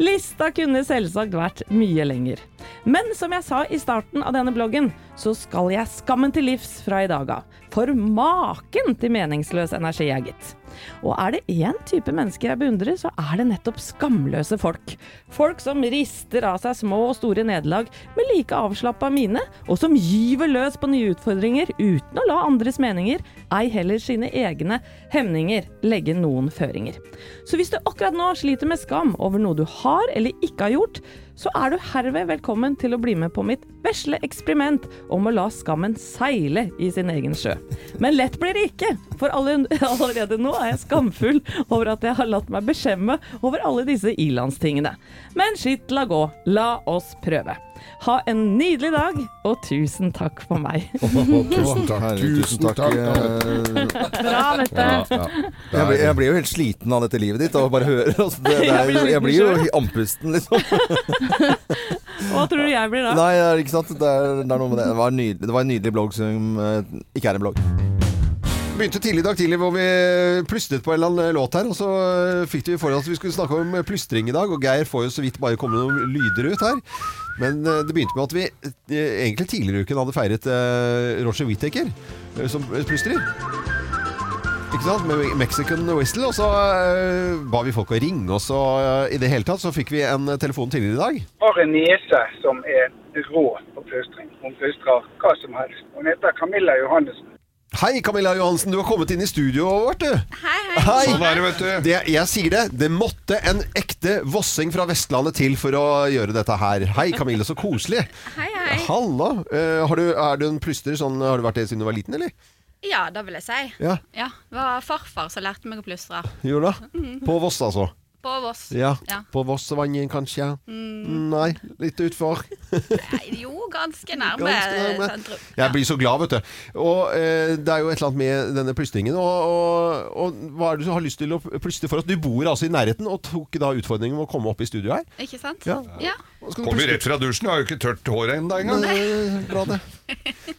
[SPEAKER 2] Lista kunne selvsagt vært mye lenger. Men som jeg sa i starten av denne bloggen, så skal jeg skammen til livs fra i dag av. For maken til meningsløs energi, jeg, gitt. Og er det én type mennesker jeg beundrer, så er det nettopp skamløse folk. Folk som rister av seg små og store nederlag med like avslappa mine, og som gyver løs på nye utfordringer uten å la andres meninger, ei heller sine egne hemninger, legge noen føringer. Så hvis du akkurat nå sliter med skam over noe du har eller ikke har gjort, så er du herved velkommen til å bli med på mitt vesle eksperiment om å la skammen seile i sin egen sjø. Men lett blir det ikke, for alle, allerede nå er jeg skamfull over at jeg har latt meg beskjemme over alle disse ilandstingene. Men skitt la gå, la oss prøve. Ha en nydelig dag, og tusen takk for meg.
[SPEAKER 3] [LAUGHS] Tusen takk.
[SPEAKER 1] Tusen takk. eh,
[SPEAKER 2] Bra, Mette.
[SPEAKER 1] Jeg blir, jeg blir jo helt sliten av dette livet ditt, av å bare høre. Altså, det, det er,
[SPEAKER 2] Jeg blir sliten
[SPEAKER 1] jeg blir jo
[SPEAKER 2] selv,
[SPEAKER 1] andpusten, liksom.
[SPEAKER 2] Og Hva tror du jeg blir da?
[SPEAKER 7] Nei, det er ikke sant? Det, er, det, er noe med det. Det, var en nydelig, det var en nydelig blogg som eh, ikke er en blogg.
[SPEAKER 1] Begynte tidlig i dag tidlig hvor vi plystret på en eller annen låt her, og så eh, fikk vi for oss at vi skulle snakke om eh, plystring i dag, og Geir får jo så vidt bare komme noen lyder ut her. Men eh, det begynte med at vi eh, egentlig tidligere i uken hadde feiret eh, Roger Whittaker eh, som plystrer. Ikke sant? Med Mexican Whistle, og så eh, ba vi folk å ringe oss, og eh, i det hele tatt så fikk vi en eh, telefon tidligere i dag.
[SPEAKER 8] har en niese som er rå på plystring. Hun plystrer hva som helst. Hun heter Camilla Johannessen.
[SPEAKER 1] Hei, Camilla Johansen, du har kommet inn i studioet vårt, du. Hei, hei.
[SPEAKER 3] Sånn er det, vet du.
[SPEAKER 1] Det, jeg sier det, det måtte en ekte vossing fra Vestlandet til for å gjøre dette her. Hei, Camille, så koselig.
[SPEAKER 9] Hei, hei.
[SPEAKER 1] Halla. Eh, har du, er du en plystrer sånn, har du vært det siden du var liten, eller?
[SPEAKER 9] Ja, det vil jeg si.
[SPEAKER 1] Ja.
[SPEAKER 9] Det var farfar som lærte meg å plystre.
[SPEAKER 1] Gjorde du det? På Voss, altså.
[SPEAKER 9] På Voss.
[SPEAKER 1] Ja.
[SPEAKER 9] Ja. Mm.
[SPEAKER 1] På Vossvannet, kanskje. Nei, litt utfor.
[SPEAKER 9] Nei, jo, ganske nærme.
[SPEAKER 1] Ganske nærme.
[SPEAKER 9] sentrum.
[SPEAKER 1] Jeg blir så glad, vet du. Og eh, det er jo et eller annet med denne plystringen. Og, og, og hva er det du har lyst til å plystre for oss? Du bor altså i nærheten, og tok da utfordringen med å komme opp i studio her.
[SPEAKER 9] Ikke sant?
[SPEAKER 1] Ja.
[SPEAKER 9] ja.
[SPEAKER 1] Hva skal du
[SPEAKER 3] Kommer
[SPEAKER 1] plystre
[SPEAKER 3] rett fra dusjen, har jo ikke tørt håret ennå engang.
[SPEAKER 1] Nei, bra
[SPEAKER 3] [LAUGHS]
[SPEAKER 1] det.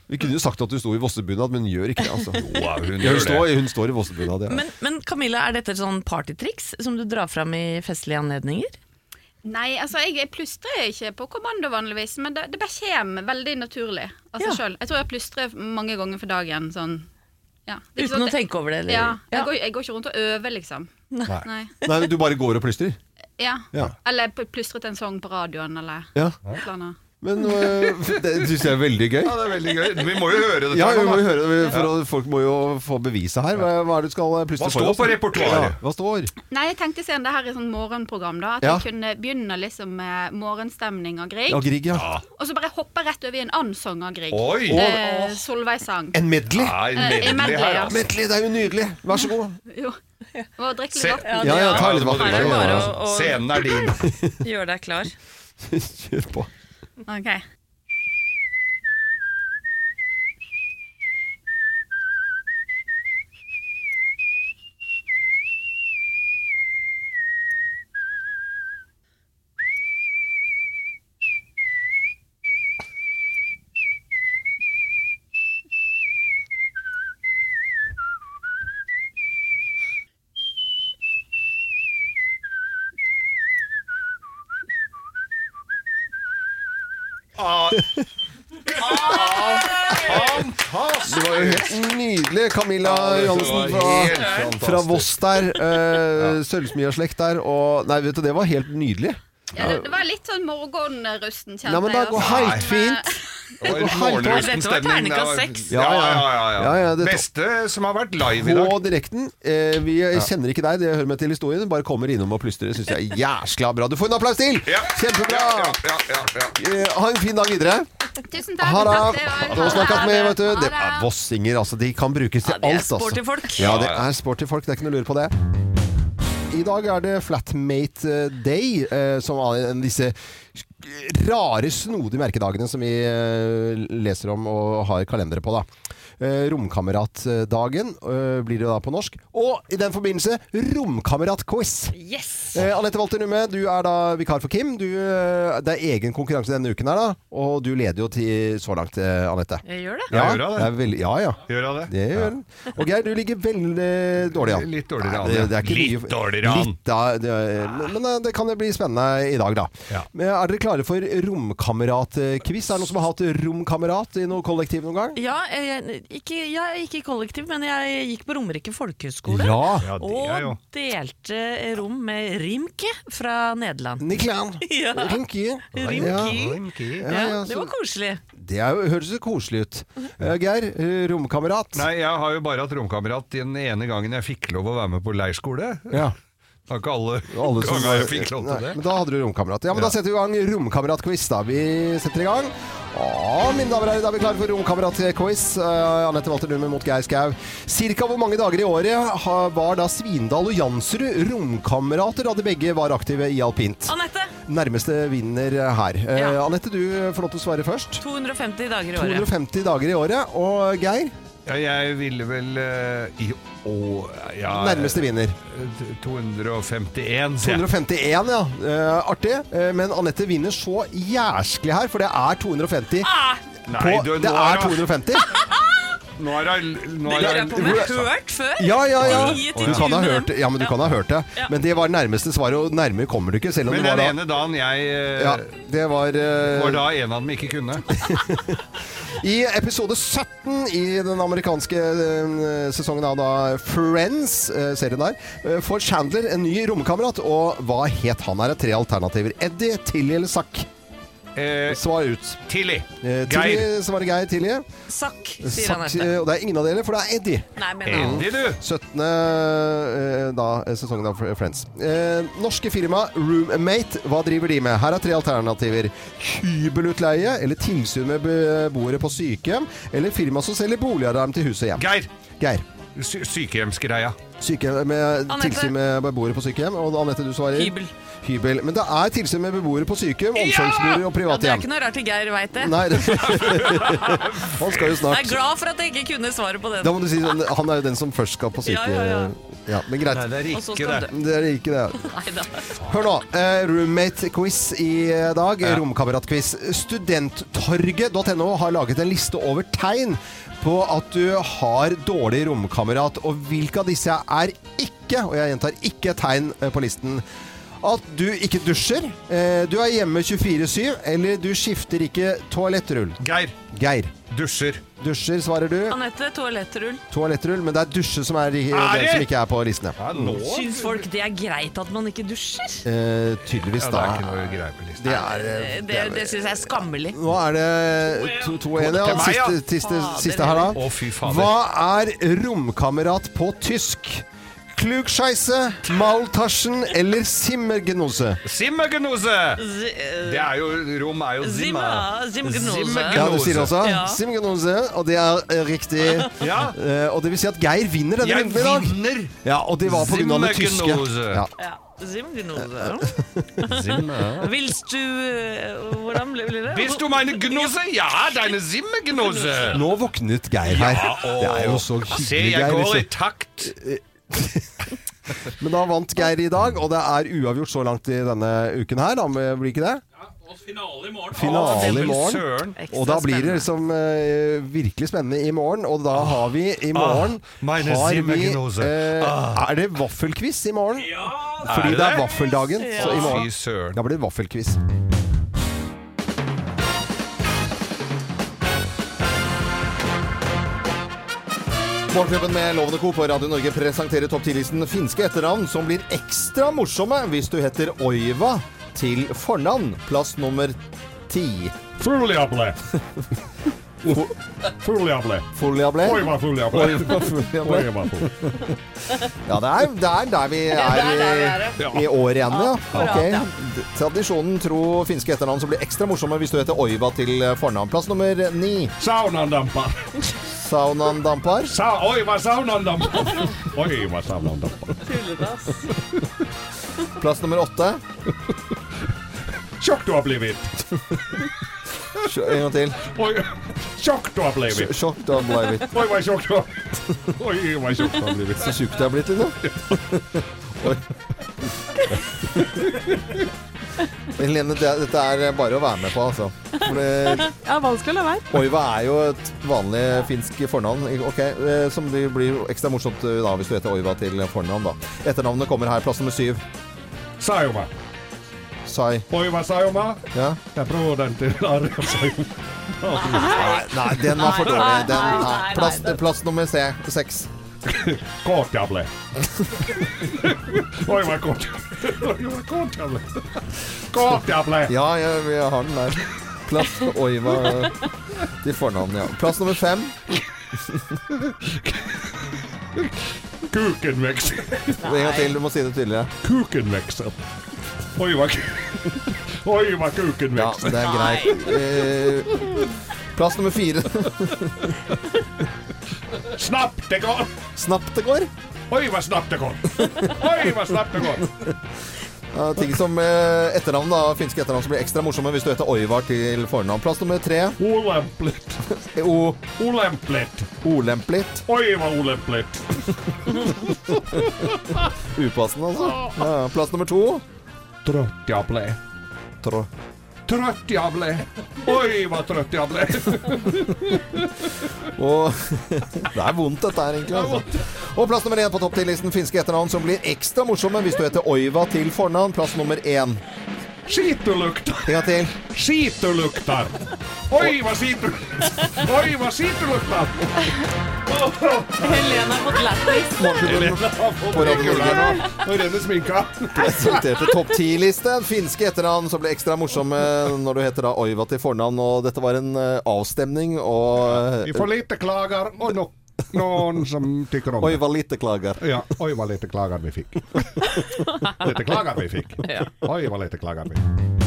[SPEAKER 1] Vi kunne jo sagt at du sto i vossebunad, men hun gjør ikke det. altså.
[SPEAKER 3] Ja,
[SPEAKER 1] Ja,
[SPEAKER 3] hun
[SPEAKER 1] hun,
[SPEAKER 3] [LAUGHS] gjør det.
[SPEAKER 1] står, hun står i vossebunad, ja.
[SPEAKER 2] Men, men Camilla, er dette et sånn partytriks som du drar fram i festlige anledninger?
[SPEAKER 9] Nei, altså jeg jeg plystrer ikke på kommando vanligvis, men det, det bare kommer veldig naturlig av seg
[SPEAKER 2] Ja.
[SPEAKER 9] sjøl. Jeg tror jeg plystrer mange ganger for dagen. Sånn. Ja. Det er ikke
[SPEAKER 2] Uten å
[SPEAKER 9] sånn at jeg-
[SPEAKER 2] tenke over det? Eller?
[SPEAKER 9] Ja, jeg, Går, jeg går ikke rundt og øver, liksom. Nei.
[SPEAKER 1] Nei, men Du bare går og plystrer?
[SPEAKER 9] Ja.
[SPEAKER 1] Ja.
[SPEAKER 9] Eller p- plystret en sang på radioen, eller
[SPEAKER 1] Ja.
[SPEAKER 9] et eller annet.
[SPEAKER 1] Men øh, det syns jeg er veldig gøy.
[SPEAKER 3] Ja, det er veldig gøy. Vi må jo høre dette.
[SPEAKER 1] Ja, vi
[SPEAKER 3] her nå,
[SPEAKER 1] må
[SPEAKER 3] da.
[SPEAKER 1] jo høre, det, for å- Folk må jo få beviset her. Hva, hva er det du skal eh, plystre
[SPEAKER 3] Hva står på repertoaret?
[SPEAKER 1] Ja, hva står?
[SPEAKER 9] Nei, jeg tenkte siden det her er sånn morgenprogram, da, at
[SPEAKER 1] Ja.
[SPEAKER 9] jeg kunne begynne liksom med morgenstemning av Grieg,
[SPEAKER 1] Ja, Grieg, ja.
[SPEAKER 9] og så bare hoppe rett over i en annen sang av Grieg.
[SPEAKER 3] Oi!
[SPEAKER 9] Eh, Solveig-sang.
[SPEAKER 1] En medley?
[SPEAKER 3] Nei,
[SPEAKER 9] Eh,
[SPEAKER 3] medley
[SPEAKER 9] medley,
[SPEAKER 3] her,
[SPEAKER 9] ja.
[SPEAKER 3] altså.
[SPEAKER 1] Medley, det er jo nydelig! Vær så god.
[SPEAKER 9] Jo. Må drikke
[SPEAKER 3] Se-
[SPEAKER 9] litt vann.
[SPEAKER 1] Ja, ja, ta litt
[SPEAKER 3] Ja,
[SPEAKER 1] vann.
[SPEAKER 3] du må
[SPEAKER 1] Ja,
[SPEAKER 3] drikke litt
[SPEAKER 1] ja,
[SPEAKER 3] vann.
[SPEAKER 2] og-
[SPEAKER 3] Scenen er din.
[SPEAKER 2] Gjør deg klar.
[SPEAKER 1] ja. [LAUGHS] Kjør på.
[SPEAKER 9] Ok.
[SPEAKER 3] [LAUGHS] Ah. Ah. Fantastisk!
[SPEAKER 1] Det var jo helt nydelig. Camilla Johansen fra, fra Voss der. Øh, Sølvsmia-slekt der. Og Nei, vet du, det var helt nydelig.
[SPEAKER 9] Ja, det, det var litt sånn morgenrusten, kjente
[SPEAKER 1] Nei, men det
[SPEAKER 9] jeg.
[SPEAKER 1] går
[SPEAKER 9] altså.
[SPEAKER 1] helt
[SPEAKER 9] Men,
[SPEAKER 1] fint.
[SPEAKER 3] Det var
[SPEAKER 1] Dette var
[SPEAKER 3] morgenrusten stemning.
[SPEAKER 2] terningkast
[SPEAKER 3] Det var-
[SPEAKER 2] seks.
[SPEAKER 3] Ja, ja, ja. ja,
[SPEAKER 1] Ja, ja,
[SPEAKER 3] ja.
[SPEAKER 1] det-
[SPEAKER 3] Beste som har vært live i dag.
[SPEAKER 1] På direkten. Eh, vi kjenner ikke deg, det hører med til historien. Bare kommer innom og plystrer. Syns jeg er jæskla bra. Du får en applaus til!
[SPEAKER 3] Ja.
[SPEAKER 1] Kjempebra!
[SPEAKER 3] Ja, ja, ja, ja.
[SPEAKER 1] Eh, ha en fin dag videre.
[SPEAKER 9] Tusen takk.
[SPEAKER 1] Ha det!
[SPEAKER 9] takk, det var-
[SPEAKER 1] Nå snakkes vi, vet du.
[SPEAKER 9] Ha
[SPEAKER 1] Det
[SPEAKER 9] det.
[SPEAKER 1] er Vossinger, altså. De kan brukes til
[SPEAKER 2] Ja, det er
[SPEAKER 1] alt, altså.
[SPEAKER 2] sporty folk.
[SPEAKER 1] Ja, det er sporty folk. Det er ikke noe å lure på det. I dag er det Flatmate eh, Day, eh, som er en av disse rare, snodige merkedagene som vi eh, leser om og har kalendere på. da. Eh, Romkameratdagen eh, blir det da på norsk. Og i den forbindelse romkameratquiz.
[SPEAKER 2] Yes!
[SPEAKER 1] Eh, Anette Walter Numme, du er da vikar for Kim. Du, eh, det er egen konkurranse denne uken her, da. Og du leder jo til så langt, eh, Anette.
[SPEAKER 2] Jeg gjør det.
[SPEAKER 3] Ja, gjør jeg det?
[SPEAKER 1] det er veldig- ja, ja.
[SPEAKER 3] Gjør jeg det?
[SPEAKER 1] Det gjør den. Og Geir, du ligger veldig dårlig an.
[SPEAKER 3] Litt dårligere an,
[SPEAKER 1] Nei,
[SPEAKER 3] ja.
[SPEAKER 1] det, det er ikke
[SPEAKER 3] Litt
[SPEAKER 1] mye-
[SPEAKER 3] dårligere an.
[SPEAKER 1] Litt, da, det, er- men, men eh, det kan jo bli spennende i dag, da.
[SPEAKER 3] Ja.
[SPEAKER 1] Men Er dere klare for romkamerat-quiz? Er det noen som har hatt romkamerat i noe kollektiv noen gang?
[SPEAKER 2] Ja, eh, jeg, ikke, jeg gikk i kollektiv, men jeg gikk på Romerike folkehøgskole.
[SPEAKER 1] Ja.
[SPEAKER 3] Ja, det er jo
[SPEAKER 2] Og delte rom med Rimke fra Nederland.
[SPEAKER 1] Niklan.
[SPEAKER 2] Ja.
[SPEAKER 1] Rinky.
[SPEAKER 2] Rimki.
[SPEAKER 1] Ja,
[SPEAKER 2] Ja,
[SPEAKER 1] ja,
[SPEAKER 2] det var
[SPEAKER 1] så-
[SPEAKER 2] koselig.
[SPEAKER 1] det er jo- høres jo koselig ut. Eh, Geir, eh, romkamerat.
[SPEAKER 3] Nei, jeg har jo bare hatt romkamerat den ene gangen jeg fikk lov å være med på leirskole.
[SPEAKER 1] Ja.
[SPEAKER 3] Det var ikke alle,
[SPEAKER 1] Alle som-
[SPEAKER 3] ganger jeg fikk lov til
[SPEAKER 1] Nei,
[SPEAKER 3] det.
[SPEAKER 1] Men da hadde du romkamerat. Ja, men da
[SPEAKER 3] Ja.
[SPEAKER 1] setter vi i gang romkamerat-quiz. da. Vi setter i gang. Ja, mine damer og herrer, da er vi klare for romkamerat-quiz. Eh, Anette Walter Numme mot Geir Skau. Cirka hvor mange dager i året ha- var da Svindal og Jansrud romkamerater da de begge var aktive i alpint?
[SPEAKER 2] Anette,
[SPEAKER 1] Nærmeste vinner her. Eh,
[SPEAKER 2] Ja.
[SPEAKER 1] Anette, du får lov til å svare først.
[SPEAKER 2] 250 dager i året.
[SPEAKER 1] 250 dager i året. Og Geir?
[SPEAKER 3] Ja, jeg ville vel eh, i Og, ja,
[SPEAKER 1] Nærmeste vinner.
[SPEAKER 3] 251, sier jeg.
[SPEAKER 1] 251, ja. Eh, artig. Eh, men Anette vinner så jæsklig her, for det er 250. På,
[SPEAKER 3] Nei, du,
[SPEAKER 1] det
[SPEAKER 3] nå
[SPEAKER 1] er
[SPEAKER 3] er det-
[SPEAKER 1] 250.
[SPEAKER 3] Nå er det nå
[SPEAKER 2] Det
[SPEAKER 3] er
[SPEAKER 2] lurer jeg på om jeg har hørt før.
[SPEAKER 1] Ja, ja, ja.
[SPEAKER 2] Ti til
[SPEAKER 1] Du kan ha
[SPEAKER 2] tjue
[SPEAKER 1] hørt, ja, men du kan ha hørt det.
[SPEAKER 2] Ja.
[SPEAKER 1] Men det var nærmeste svaret, og nærmere kommer du ikke. Selv om
[SPEAKER 3] Men
[SPEAKER 1] det var
[SPEAKER 3] den
[SPEAKER 1] da
[SPEAKER 3] ene dagen jeg eh,
[SPEAKER 1] Ja, det var eh,
[SPEAKER 3] var da en av dem ikke
[SPEAKER 1] [LAUGHS]
[SPEAKER 3] kunne.
[SPEAKER 1] I episode 17 i den amerikanske eh, sesongen av da Friends, eh, serien der, eh, får Chandler en ny romkamerat. Og hva het han? Her er tre alternativer. Eddie, Tilly eller Zack? Svar ut.
[SPEAKER 3] Eh, Tilly.
[SPEAKER 1] Eh, Tilly
[SPEAKER 3] Geir.
[SPEAKER 1] svarer Geir Tilly.
[SPEAKER 2] Sakk, sier
[SPEAKER 1] Zack,
[SPEAKER 2] Anette.
[SPEAKER 1] eh, og det er ingen av dere, for det er Eddie.
[SPEAKER 2] Nei, men Eddie,
[SPEAKER 1] 17. eh, Da, eh, sesongen av Friends. Eh, norske firma Roommate, hva driver de med? Her er tre alternativer. Hybelutleie, eller tilsyn med beboere på sykehjem, eller firma som selger boligalarm til hus og hjem.
[SPEAKER 3] Geir.
[SPEAKER 1] Geir.
[SPEAKER 3] Sy sykehjemsgreia.
[SPEAKER 1] Syke, med
[SPEAKER 3] Anette.
[SPEAKER 1] tilsyn med beboere på sykehjem. Og Anette, du svarer?
[SPEAKER 3] Hybel.
[SPEAKER 1] Hybel. Men det er tilsyn med beboere på sykehjem, omsorgsboliger og
[SPEAKER 2] Ja, det
[SPEAKER 1] private
[SPEAKER 2] er
[SPEAKER 1] hjem.
[SPEAKER 2] ikke noe rart at Geir veit det.
[SPEAKER 1] Nei, det- [LAUGHS] han skal jo
[SPEAKER 2] Jeg er
[SPEAKER 1] snart
[SPEAKER 2] glad for at jeg ikke kunne svaret på den.
[SPEAKER 1] Da må du si sånn, Han er jo den som først skal på
[SPEAKER 2] Ja,
[SPEAKER 1] sykehjem.
[SPEAKER 2] ja, ja.
[SPEAKER 1] men greit.
[SPEAKER 2] Nei, det er Og så ikke skal det. du dø.
[SPEAKER 1] Det er ikke det.
[SPEAKER 2] Neida.
[SPEAKER 1] Hør nå. eh, Roommate-quiz i eh, dag. Romkamerat-quiz. Studenttorget.no har laget en liste over tegn på at du har dårlig romkamerat. Og hvilke av disse er ikke, og jeg gjentar ikke, tegn eh, på listen? At du ikke dusjer, eh, du er hjemme 24-7, eller du skifter ikke toalettrull.
[SPEAKER 3] Geir.
[SPEAKER 1] Geir.
[SPEAKER 3] Dusjer.
[SPEAKER 1] Dusjer, svarer du.
[SPEAKER 2] Anette, toalettrull.
[SPEAKER 1] Toalettrull, men det er dusje som er, i-
[SPEAKER 2] Er
[SPEAKER 1] det
[SPEAKER 2] det?
[SPEAKER 1] som ikke er på listene.
[SPEAKER 2] Syns folk det er greit at man ikke dusjer?
[SPEAKER 1] Eh, tydeligvis,
[SPEAKER 3] Ja, det
[SPEAKER 1] da.
[SPEAKER 3] er ikke noe greier på listen.
[SPEAKER 1] Det er, eh,
[SPEAKER 2] Det, det syns jeg er skammelig.
[SPEAKER 1] Nå er det 2-1, ja.
[SPEAKER 3] Til meg, ja.
[SPEAKER 1] Siste, siste,
[SPEAKER 2] Fader.
[SPEAKER 1] siste her, da.
[SPEAKER 3] Å, fy fader.
[SPEAKER 1] Hva er romkamerat på tysk? Klugscheisse, Maltaschen eller Simmergenose?
[SPEAKER 3] Simmergnose! Det er jo Rom er jo Zimmer.
[SPEAKER 2] Eh, Zimmer, Zimmergnose.
[SPEAKER 1] Ja, du sier det også?
[SPEAKER 2] Ja.
[SPEAKER 1] Simmergenose, og det er eh, riktig.
[SPEAKER 3] Ja.
[SPEAKER 1] Eh, og det vil si at Geir vinner denne
[SPEAKER 3] Jeg
[SPEAKER 1] runden i dag.
[SPEAKER 3] vinner!
[SPEAKER 1] Ja, og det var på grunn av det tyske.
[SPEAKER 3] Simmergenose.
[SPEAKER 1] Ja.
[SPEAKER 2] Ja.
[SPEAKER 1] [LAUGHS]
[SPEAKER 3] Zimmergnose. Zimmer.
[SPEAKER 2] Vils du eh, Hvordan ble ble det?
[SPEAKER 3] Bist du meine Gnose? Ja, deine Zimmergnose!
[SPEAKER 1] Nå våknet Geir her.
[SPEAKER 3] og-
[SPEAKER 1] det er jo så hyggelig,
[SPEAKER 3] Se, jeg
[SPEAKER 1] Geir,
[SPEAKER 3] går
[SPEAKER 1] liksom.
[SPEAKER 3] i takt.
[SPEAKER 1] Men da vant Geir i dag, og det er uavgjort så langt i denne uken her. Da blir det ikke det?
[SPEAKER 10] Finale i morgen.
[SPEAKER 3] er
[SPEAKER 1] Finale i morgen. Og da blir det liksom eh, virkelig spennende i morgen. Og da har vi i morgen
[SPEAKER 3] Ah, meine
[SPEAKER 1] har vi,
[SPEAKER 3] Zimmergnose.
[SPEAKER 1] eh,
[SPEAKER 3] Ah.
[SPEAKER 1] Er det vaffelquiz i morgen?
[SPEAKER 3] Er
[SPEAKER 1] Fordi
[SPEAKER 3] det
[SPEAKER 1] det er
[SPEAKER 3] det?
[SPEAKER 1] vaffeldagen. Så i
[SPEAKER 3] Ja.
[SPEAKER 1] morgen
[SPEAKER 3] Fy søren.
[SPEAKER 1] Da blir det vaffelquiz. Morgenklubben med Lovende Co. på Radio Norge presenterer topp 10-listen finske etternavn som blir ekstra morsomme hvis du heter Oiva til fornavn. Plass nummer ti.
[SPEAKER 4] Fuliable. Fuliable.
[SPEAKER 1] Fuliable.
[SPEAKER 4] Oiva fuliable.
[SPEAKER 1] Oiva fuliable.
[SPEAKER 4] Oiva fuliable.
[SPEAKER 1] Ja, det er det er der vi
[SPEAKER 4] Det er
[SPEAKER 1] er
[SPEAKER 4] der vi er,
[SPEAKER 1] i,
[SPEAKER 4] ja.
[SPEAKER 1] i året igjen, ja.
[SPEAKER 4] Akkurat,
[SPEAKER 1] Ok.
[SPEAKER 4] ja.
[SPEAKER 1] D- Tradisjonen tro finske etternavn som blir ekstra morsomme hvis du heter Oiva til fornavn. Plass nummer ni.
[SPEAKER 4] Saunandampar.
[SPEAKER 1] Saunandampar.
[SPEAKER 4] Sa oiva saunandampar. Oiva saunandampar.
[SPEAKER 1] Plass nummer åtte.
[SPEAKER 4] Tjokk du
[SPEAKER 3] er
[SPEAKER 4] har blitt.
[SPEAKER 1] Sj- En gang til.
[SPEAKER 4] Oi, tjokk
[SPEAKER 3] er
[SPEAKER 4] du har blitt.
[SPEAKER 1] Sj- Sjokk du har blitt.
[SPEAKER 4] Oi, hva tjokk du har Oi, hva tjokk
[SPEAKER 3] er
[SPEAKER 4] du har blitt.
[SPEAKER 1] Så tjukk du har blitt, liksom. Oi. Helene, det, dette er bare å være med på, altså. For det,
[SPEAKER 11] Ja, vanskelig å la være.
[SPEAKER 1] Oiva er jo et vanlig finsk fornavn. Ok, eh, Som det blir ekstra morsomt eh, da, hvis du heter Oiva til fornavn. da. Etternavnet kommer her, plass nummer syv.
[SPEAKER 4] Saioma.
[SPEAKER 1] Sai.
[SPEAKER 4] Oiva saioma.
[SPEAKER 1] Ja.
[SPEAKER 4] Det er broderen til Arja Saioma.
[SPEAKER 1] Nei, nei, den var for
[SPEAKER 4] Nei,
[SPEAKER 1] dårlig. Den,
[SPEAKER 4] nei,
[SPEAKER 1] nei,
[SPEAKER 4] nei,
[SPEAKER 1] plass,
[SPEAKER 4] nei, nei.
[SPEAKER 1] plass nummer se- seks.
[SPEAKER 4] Kort jeg ble. Oi, hva kort. Oi, hva kort jeg ble. Kort jeg ble.
[SPEAKER 1] Ja, jeg, jeg har den der. Plass Oiva eh, til fornavn, ja. Plass nummer fem.
[SPEAKER 4] Kuken vokser.
[SPEAKER 1] En gang til, du må si det tydeligere.
[SPEAKER 4] Kuken vokser. Oi, hva ku- Oi, hva kuken
[SPEAKER 1] Ja,
[SPEAKER 4] vokser.
[SPEAKER 1] det er greit. Eh, plass nummer fire. [LAUGHS]
[SPEAKER 4] Snapp det går.
[SPEAKER 1] Snapp det går.
[SPEAKER 4] Oi, hva snapp det går. Oi, hva snapp det går.
[SPEAKER 1] Ja, ting som eh, etternavn, da. Finske etternavn som blir ekstra morsomme hvis du heter Oivar til fornavn. Plass nummer tre.
[SPEAKER 12] Olemplet.
[SPEAKER 1] O
[SPEAKER 12] Olemplet.
[SPEAKER 1] Olemplit.
[SPEAKER 12] Oi, hva olemplet.
[SPEAKER 1] Upassende, altså. Ja, plass nummer to.
[SPEAKER 3] Trøtt jeg ble.
[SPEAKER 1] Trå.
[SPEAKER 3] Trøtt jeg ble. Oi, hva trøtt jeg ble.
[SPEAKER 1] Og [LAUGHS] Det er vondt, dette her, egentlig. Altså. Og plass nummer én på topptillisten finske etternavn som blir ekstra morsomme hvis du heter Oiva til fornavn. Plass nummer én.
[SPEAKER 12] Skitulukter.
[SPEAKER 1] En gang til.
[SPEAKER 12] Skitulukter. Oi, hva situ... Oi, hva situlukter.
[SPEAKER 2] Helene har fått lættis.
[SPEAKER 1] Morgenklubben
[SPEAKER 12] Helene har fått
[SPEAKER 1] på Radio
[SPEAKER 12] regler
[SPEAKER 1] Norge.
[SPEAKER 12] her nå. Nå renner sminka.
[SPEAKER 1] presenterte topp ti-liste. Finske etternavn som ble ekstra morsomme når du heter da Oiva til fornavn. Og dette var en eh, avstemning, og eh,
[SPEAKER 3] Vi får lite klager, og nok noen som tykker om det.
[SPEAKER 1] Oiva lite klager.
[SPEAKER 3] Ja, oi, hva lite klager vi fikk. Lite klager vi fikk. Oi, hva lite klager vi fikk.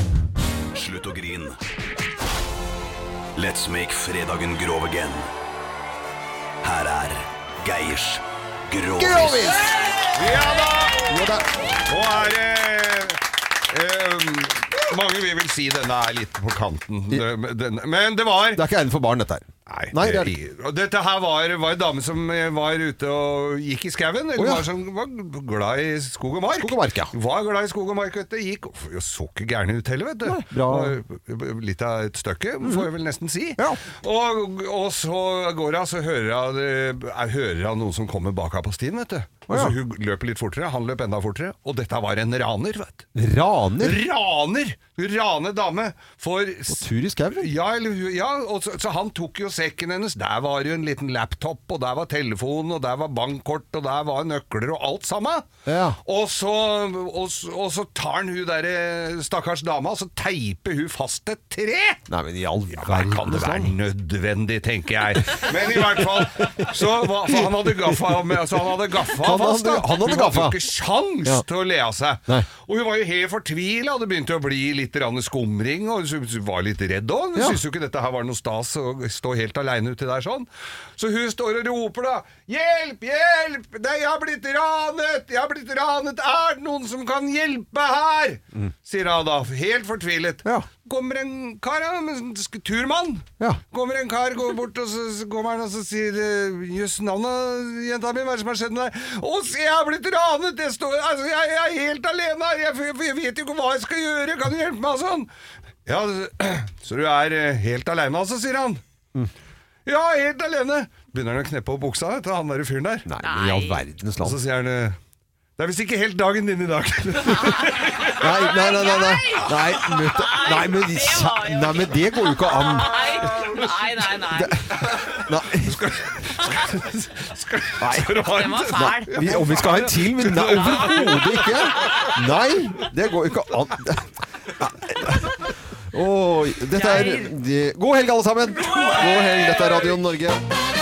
[SPEAKER 13] Slutt å grin. Let's make fredagen grov again. Her er Geirs Grovis.
[SPEAKER 3] Ja da! Nå er det eh, Mange vil vel si denne er litt på kanten. Den- Men det var
[SPEAKER 1] Det er ikke egnet for barn, dette her.
[SPEAKER 3] Nei,
[SPEAKER 1] Nei,
[SPEAKER 3] det
[SPEAKER 1] det er det ikke.
[SPEAKER 3] og Dette her var, var en dame som eh, var ute og gikk i skauen. Eller
[SPEAKER 1] Å, ja.
[SPEAKER 3] var, som, var glad i skog og mark.
[SPEAKER 1] Skog og mark, ja.
[SPEAKER 3] Var glad i skog og mark, vet du. Gikk og f- og så ikke gæren ut heller, vet du. Var, eh, Litt av et stykke,
[SPEAKER 1] Mhm.
[SPEAKER 3] får jeg vel nesten si. Og, og så går hun, så hører hun eh, hører hun noen som kommer bak henne på stien, vet du. Og så hun løper litt fortere, han løp enda fortere. Og dette var en raner, vet du.
[SPEAKER 1] Raner?
[SPEAKER 3] Raner! Rane dame. For
[SPEAKER 1] Tur i skau?
[SPEAKER 3] ja, eller, hun- ja og så, så han tok jo sekken hennes. Der var jo en liten laptop, og der var telefon, og der var bankkort, og der var nøkler og alt sammen.
[SPEAKER 1] Ja.
[SPEAKER 3] Og så, og, så- og så tar han hun derre stakkars dama, og så teiper hun fast et tre!
[SPEAKER 1] Nei, men i all
[SPEAKER 3] Hva kan det være nødvendig, tenker jeg. Men i hvert fall Så hva, for han hadde gaffa med, altså han hadde gaffa
[SPEAKER 1] Han
[SPEAKER 3] fast, da.
[SPEAKER 1] hadde- han hadde
[SPEAKER 3] Hun hadde jo
[SPEAKER 1] gaffa.
[SPEAKER 3] ikke sjans
[SPEAKER 1] Ja.
[SPEAKER 3] til å le av seg.
[SPEAKER 1] Nei.
[SPEAKER 3] Og hun var jo helt fortvila, det begynte å bli litt rann skumring, og hun sy- var litt redd òg. Hun
[SPEAKER 1] Ja.
[SPEAKER 3] syntes jo ikke dette her var noe stas å stå helt aleine uti der sånn. Så hun står og roper da 'Hjelp, hjelp! Nei, jeg har blitt ranet! Jeg har blitt ranet! Er det noen som kan hjelpe her?' sier hun da, helt fortvilet. Kommer en kar, ja, en sk- turmann.
[SPEAKER 1] Ja.
[SPEAKER 3] Kommer en kar, går bort, og så så kommer han og så sier eh, 'Jøss, navnet, jenta mi, hva er det som har skjedd med deg?' 'Å, se, jeg har blitt ranet! Det står, altså, jeg, jeg er helt alene her! Jeg, jeg, jeg vet jo ikke hva jeg skal gjøre! Kan du hjelpe meg?' og sånn. Ja, så du er eh, helt aleine, altså, sier han. Ja, helt alene. Begynner han å kneppe opp buksa til han der fyren der.
[SPEAKER 1] Nei, men i all verdens
[SPEAKER 3] Og så
[SPEAKER 1] land.
[SPEAKER 3] sier han eh, 'Det er visst ikke helt dagen din i dag'. [LAUGHS]
[SPEAKER 1] Nei, nei, nei. Nei, nei, nei, mutter- nei, men, nei, men det går jo ikke an.
[SPEAKER 2] Nei, nei, nei.
[SPEAKER 1] Nei.
[SPEAKER 3] Skal,
[SPEAKER 1] Nei.
[SPEAKER 3] skal du ha en-
[SPEAKER 2] Den var fæl.
[SPEAKER 1] Vi, om vi skal ha en til? Men nei, overhodet ikke! Nei, det går jo ikke an. Åh, dette er God helg, alle sammen! God helg, dette er Radio Norge.